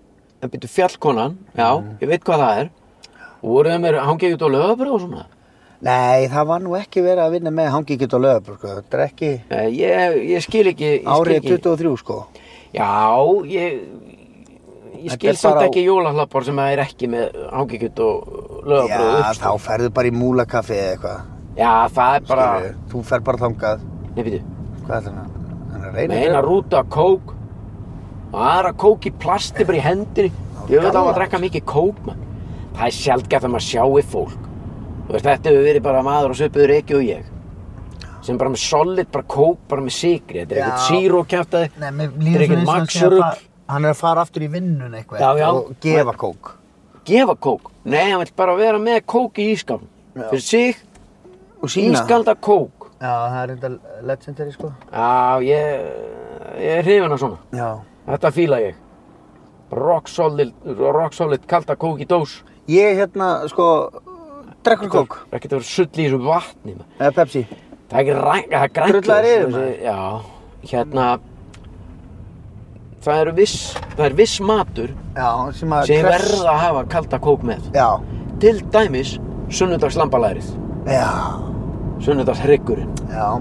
en byrju Eh, fjallkonan, já, Mm. ég veit hvað það er. Og voruðu mér hangið út á lögabröð og svona? Nei, það var nú ekki verið að vinna með hangi ekki út á lögur, sko. Þetta er ekki Nei, Eh, Ég, ég skil ekki, ég skil árið ekki. 23, sko. Já, ég, ég Þetta skil er samt bara á- ekki jólahlappar sem er ekki með ágekjöt og lögabröð Já, þá ferðu bara í múlakaffi eða eitthvað. Já, það er bara, skilurðu. Þú fer bara þangað. nei býtu, Hvað er það? Hann er að reyna með eina rúta af kók og aðra kók í plasti bara í hendinni. Ég veit á að gaman. drekka mikið kók, mann. Það er sjaldgæft að maður sjái fólk. Þú veist, þetta hefur verið bara maður og söpuður ekki og ég. sem bara með solid, bara kók, bara með sigri þetta er Já. ekkert zero kæftæði Nei, mér líður Drekir svona eins og hann sé að Maxrull. fara, hann er að fara aftur í vinnun eitthvað Já, já. og gefa kók. gefa kók, nei, hann vill bara vera með kók í ískál Já. fyrir sig, Og sína. ískalda kók Já, það er enda legendary sko. já, ég, ég er hrifin af svona Já. þetta fíla ég rock solid, rock solid kalda kók í dós Ég hérna, sko, drekkur kók. ekkert að vera sull í þessu vatni maður. Eða Pepsi. það er ekki ræk, það er grænt Drullar ljós, yfir, þessi- já, hérna það eru viss það er viss matur Já, sem að... sem ég krefst- verð að hafa kalda kók með Já. til dæmis sunnudags lambalærið Já. sunnudags hryggurinn Já.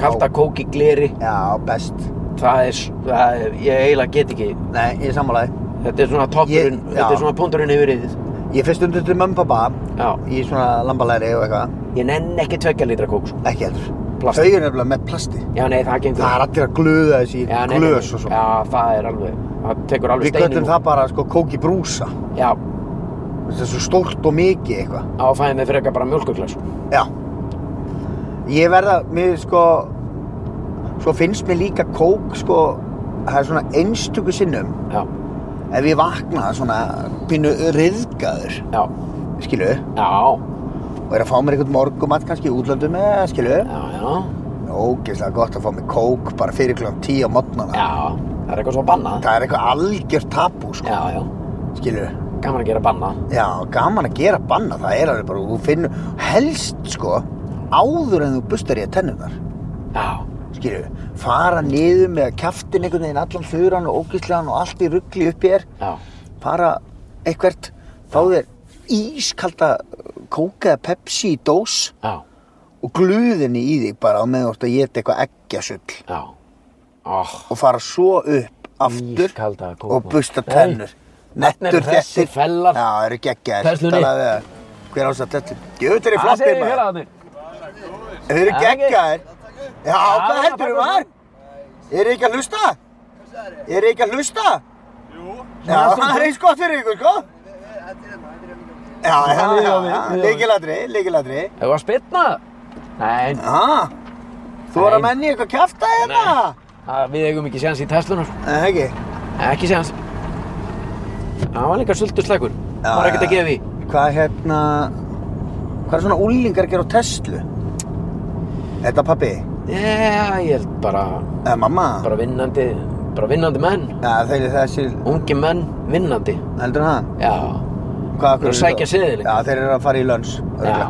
kalda kók í gleri Já, best. það er, s- það er ég eiginlega get ekki Nei, ég er sammálaði. þetta er svona toppurinn Ég- já. þetta er svona pundurinn yfir yfir Ég fyrst undur til mömmu og pappa já í svona lambalæri og eitthvað. ég nenn ekki tvekja litra kók sko. Ekki heldur. Plast. Þau eru nefnilega með plasti. já nei það gengur Það er allir að gluða þessi í já, nei, nei, nei. glös og svona. já það er alveg það tekur alveg Við steinin köllum úr. það bara sko kók í brúsa. já Það er svo stórt og mikið eitthvað. á að fæði mig frekar bara mjölkuglas Já. Ég verða, mér sko, svo finnst mér líka kók sko, það er svona einstöku sinnum. já Ef ég vakna svona pínu riðgaður, já skilu, já og er að fá mér einhvern morgumat kannski í útlöndum eða skilu. já já Ógeðslega gott að fá mér kók bara fyrir klokkan tíu á modnana. já það er eitthvað svo bannað Það er eitthvað algjör tabú sko, já já skilu. gaman að gera bannað Já, gaman að gera banna, það er alveg bara, þú finnur, helst sko, áður en þú bustar í að tennunar. já skilju, fara niður með kjaftin einhvern veginn allan þurran og ógíslan og allt í ruggli upp í þér, já fara eitthvert, fá þér ískalda kóka eða pepsi í dós já og gluðinni í þig bara á meðan þú ert að geta eitthvað eggjasull já oh, og fara svo upp aftur Ískalda kók, og maður. busta tennur. Þarna eru Nettur hressir þettir. fellar. Já, það eru geggjaðir. Þesslunni. Talaðu við þær. Hver ás að tettur? Gjöður er hvað flottir segir maður. félagarnir Þeir eru Já, ekki. geggjaðir. Já, hvað það heldur þú bara- var? Eru ekki að hlusta? Eru ekki að hlusta? Já, það er eins gott fyrir ykkur, sko. Já, já, Já, já, já, já, já. leikilatri, leikilatri. hefur það spilnað nei Já, þú voru að Nei. menni eitthvað kjafta hérna? að við eigum ekki séans í Teslunar Nei, ekki. ekki séans það var líka sultu slækur Já, var ekkert að já. gefa í Hvað hérna, hvað er svona úlingar að gera á Tesla? Þetta pabbi, já ég held bara eða mamma, bara vinnandi bara vinnandi menn ja, þeir eru þessi, ungi menn vinnandi heldur það? já Hvað af Þeir eru hverju að sækja þá? seðilinn. Já, þeir eru að fara í lönns, já örgulega.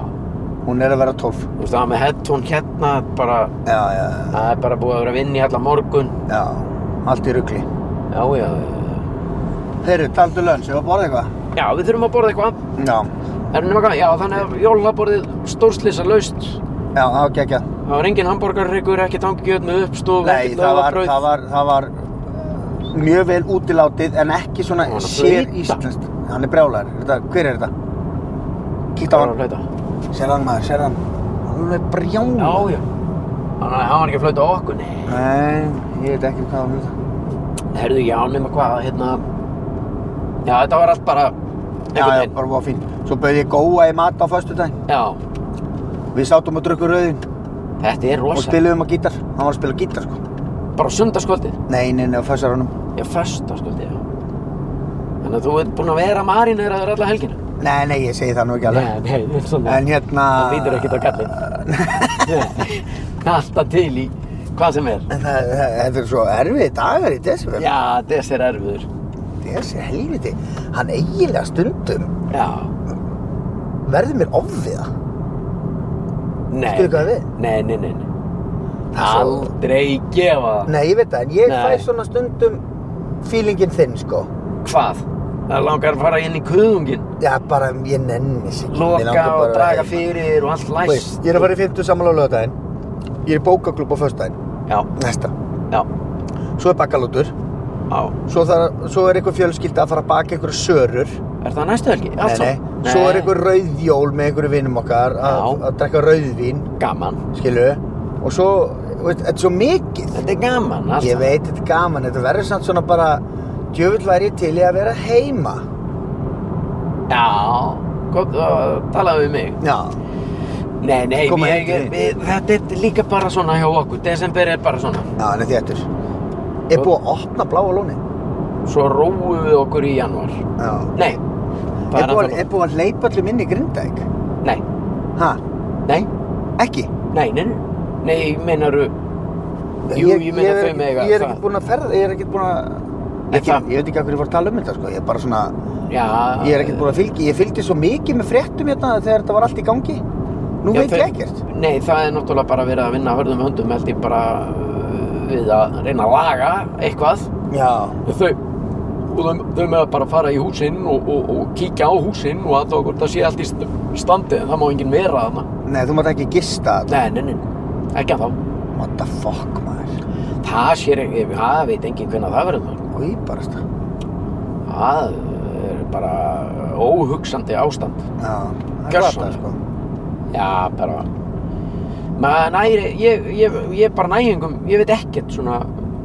Hún er að vera 12. þú veist það var með headphone hérna bara Já, já, já, það er bara búið að vera að vinna í alla morgun já, allt í ruggli. já já já. Heyrðu, taldu lönns, ég var að borða eitthvað. já við þurfum að borða eitthvað Já, er nema hvað já þannig að jólaborðið stórslisa laust já, það var geggjað. það var engin hamburgarryggur ekki hérna tangjöð með uppstof Nei, ekkert það var, laufabrauð. það var, það var uh, mjög vel útilátið en ekki svona Hann er að sér flauta. íslenskt. Hann er brjálæður. Þetta, hver er þetta? Kíkta á það var hann. að flauta Sér hann maður, sér hann. Hann er Já, brjálæður. já. Þannig að hann var ekki að flauta á okkur, nei. Nei, ég veit ekki um hvað hann er þetta. Herðu, já, nema hvað, hérna... Já, þetta var allt bara... einhvern Já, já, veginn. bara var fín. Svo bauð ég góa í mat á föstudaginn. Já, Við sátum og drukkum rauðin þetta er og rosa. spiluðum á gítar. Hann var að spila á gítar sko. Bara sundarskvöldið. Nei, nei, nei, á föstaranum. Já, föstarskvöldið, já. Þannig að þú ert búinn að vera marínir aður alla helgina. Nei, nei, ég segi það nú ekki alveg. Nei, nei, þetta er svona... En hérna... Það býtur ekkert á kallinn. Alltaf til í hvað sem er. En það, það- þetta er svo erfið dagar í desember. Já, þess er erfiður. Þessi helviti, hann eiginlega stundum Já. verður mér ofviða. Nei. Skilur hvað við? Nei, nei, nei, nei. Svo- Aldrei gefa það. Nei, ég veit það, en ég Nei. fæ svona stundum feelingin þinn, sko. Hvað? Það langar að fara inn í kuðungin. Já, bara ég nenni sig. ekki. Mig loka langar bara og að draga vera heima. fyrir og allt Þú veist, læst Ég er að fara í 50 samal á lögadaginn. Ég er í bókaklub á föstudaginn. já, Næsta. já, Svo er bakkalútur. já, Svo, þar, svo er einhver fjölskylda að fara að baka einhverju sörur. er það næstu helgi? Allt nei, saman? nei. Svo er einhver rauðjól með einhverju vinnum okkar að, Já. að drekka rauðvín, gaman, skilu. Og svo, veit, þetta er svo mikið. þetta er gaman allt Ég veit, þetta er gaman, þetta verður samt svona bara djöfull væri ég til í að vera heima saman. já, gott að tala við mig Já, Nei, nei, Koma ég, heim til ég, ég, þetta er líka bara svona hjá okkur. Desember er bara svona. Já, hann er þéttur. Er búið að opna bláa lóni? Svo róum við okkur í janúar. Já. Nei, það Er er búið, að- alltaf... er búið að hleypa allum inn í Grindæk? Nei, Ha? nei, Ekki? nei, nei, nei, nei, meinaru... Jú, ég meina er þau ekki- mega Ég er það. ekki búinn að ferða, ég er ekki búinn að... Ég Ekki, það- ég veit ekki hvað hverju fór að tala um þetta, sko. Ég er bara svona, Já... ég er ekki búinn að fylgi, ég fylgdi svo mikið með fréttum hérna þegar þetta var allt í gangi. Nú Já, veit ég ekkert. Nei, það er náttúrulega bara verið að vinna hörðum höndum held ég bara uh, við að reyna að laga eitthvað Já. þau, og þau, þau með að bara fara í húsinn og, og, og kíkja á húsinn og að það, það sé allt í st- standi en það má enginn vera þarna Nei, þú mátt ekki gista þetta. Nei, nei, nei, ekki að þá What the fuck, maður. Það sér, ekki- það veit enginn hvernig það verður maður. Í barasta. Það er bara óhugsandi ástand Já. það er Gjörsamlega. glatað, sko. Já, bara maður næri, ég, ég, ég bara nægingum ég veit ekkert svona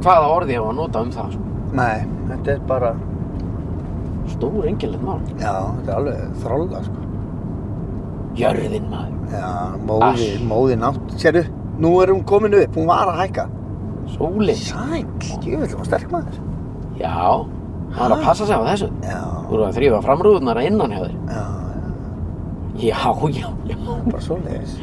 hvaða orði ég á að nota um það sko. Nei, þetta er bara, Stór engilegt mál. já, þetta er alveg þrolla, sko. Jörðin maður. Já, móði, Ass. móði nátt, sérðu, nú er hún komin upp, hún var að hækka. Sólin. Sæl, djúvill, hún var sterk maður. Já. Það er að Ha? passa sig á þessu. Já, Þú eru að þrýfa framrúðunar að innan hjá þér. já, Já, já, já. bara svo leiðis.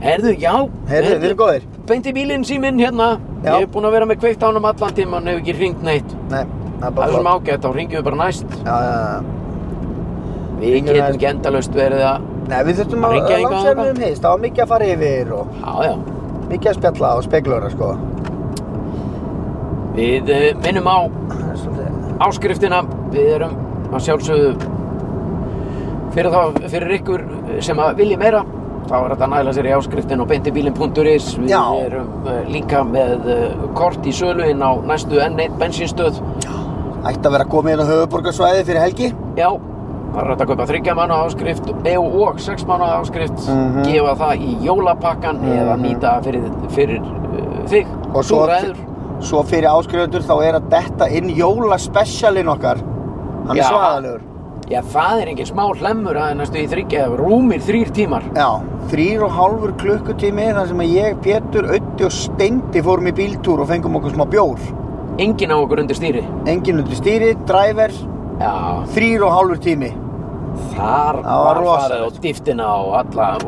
Herðu, já. Heyrðu, við erum góðir. Beint í bílinn síminn hérna. Já. Ég hef búin að vera með kveikt ánum allan tíma en hef ekki hringt neitt. Nei, það er Það bara er svona ágætt, þá ringjum við bara næst. Já, já, já. Við Hringjum getum næst. ekki endalaust verið að... Nei, við Að þurftum að hringja hingað langt sem við þangað? um hist, það var mikið að fara yfir og Já, já. mikið að spjalla og speglura, sko. Við uh, minnum á Það er svolítið, áskriftina. Við erum að sjálfsögðu fyrir, þá, fyrir ykkur sem að vilji meira þá er þetta að næla sér í áskriftin og beintibílin.is Við Já. erum eh, líka með eh, kort í sölu inn á næstu N1 bensínstöð ætti að vera komið inn á höfuborgarsvæði fyrir helgi. Já, það er hægt að kaupa þryggja mánu áskrift og, og sex mánu áskrift Mhm. gefa það í jólapakkan eða Mhm. nýta fyrir, fyrir uh, þig Og svo, Þú ræður. svo fyrir áskrifundur þá er að detta inn jólaspecialinn okkar. Hann Já. er svaðalegur. Já, það er engin smá hlemmur að næstu í þryggja eða rúmir þrýr tímar Já, þrýr og hálfur klukkutími þar sem að ég, Pétur, Ötti og Steindi fórum í bíltúr og fengum okkur smá bjór. Engin á okkur undir stýri Engin undir stýri, driver, Já, þrýr og hálfur tími. Þar Það var var farið á rosalegt. dýftina og alla og,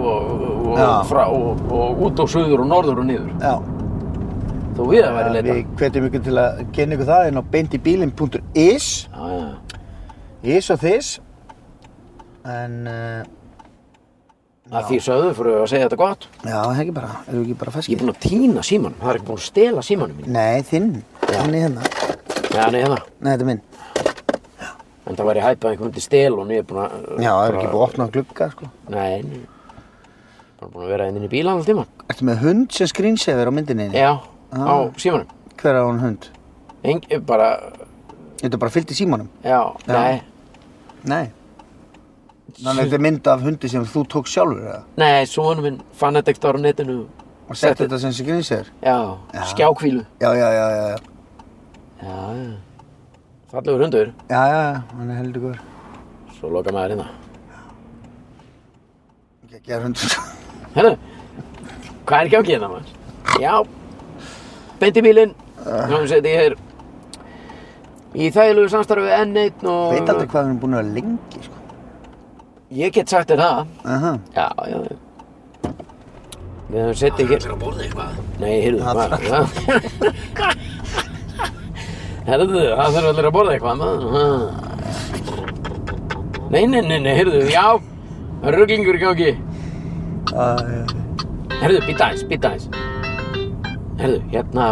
og, Já. frá, og, og út og suður og norður og niður. Já, Þú við að væri leita. við hvetjum ykkur til að kenna ykkur það inn á bendibílin.is, Já, já. is og þis. En, uh, Að því sögðu fyrir að segja þetta gott. já, það er ekki bara, erum við ekki bara Ég er feskið? búinn að týna símanum. Það er ekki búinn að stela símanum mín. Nei, þinn, hann er hérna. Já, nei, það. Nei, þetta er minn. En það væri hæpað að einhvern myndi stel og nú er ég búinn að... Já, það er ekki búið að opna á glugga, sko. Nei, nei. Bara búinn að vera inn í bíla alltaf tíma. Ertu með hund sem screensaver á myndinni? Já, Ah. á símanum. Hver á hún hund? Engi, bara, Þetta er bara fyllt í símanum? já, Já. nei. Nei. Þannig að þetta er mynd af hundi sem þú tók sjálfur eða? Nei, sonum minn fann þetta ekkert ára netinu. Og sett þetta sem sig grínsir? Já, Já. skjákvílu. Já, já, já, já, já. Já, já. Fallegur hundur. Já, já, já, hann er heldur góður. Svo loka maður hérna. Ekki að hundur. Hérna, hvað er ekki á geðna maður? Já, beint í bílinn, Ah. þannig seti ég hér í þægilegu samstarfi við N1 og... Veit aldrei hvað hann er búin að vera lengi, sko. Ég get sagt þér það. Aha. Já, já, já. Við höfum setið hér... Það er að borða eitthvað. Nei, heyrðu, Það hvað? það- Herðu, það þurfa allir að borða eitthvað, maður. ha. Nei, nei, nei, nei, heyrðu, já, rugglingur í gangi. Æ, já. Herðu, býta aðeins, býta aðeins. Herðu, hérna...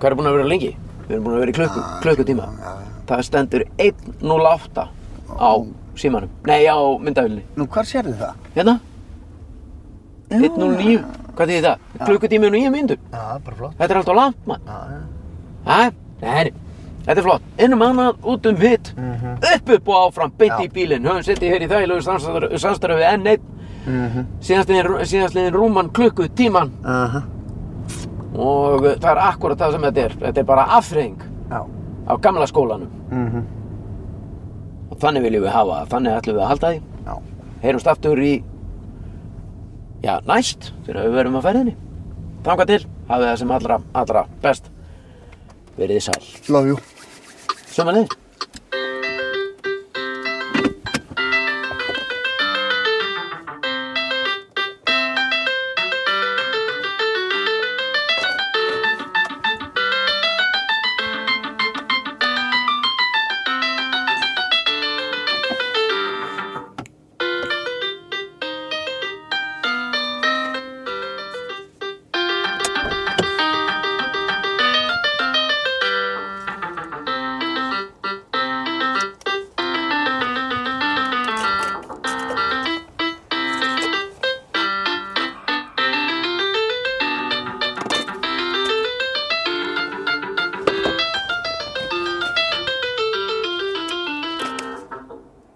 Hvað er búin að vera lengi? Við erum búin að vera í klukku, klukkutíma. Það stendur 1.08 á símanum. Nei, á myndavillinni. Nú, hvar sérðu það? Hérna? Já. 1.09. Hvað þýðir það? Klukkutími og nýja myndur. Já, bara flott. Þetta er alltaf langt, mann. Já, já. Hæ? Nei, þetta er flott. Inn um annað, út um hitt. Upp, upp og áfram, beint Mhm. Já. í bílinn. Höfum setið hér í þægilegu samstarfi- samstarfi við N1. Mhm. Síðastliðin síðastliðin rúman klukkutíman. Aha. og uh, það er akkurat það sem þetta er þetta er bara afþreying Já. á gamla skólanum Mhm. og þannig viljum við hafa það, þannig ætlum við að halda því Já. heyrumst aftur í já, næst þegar við verum á ferðinni. Þanga til, hafið það sem allra, allra best. Verið þið sæl. Love you. Sjómanið.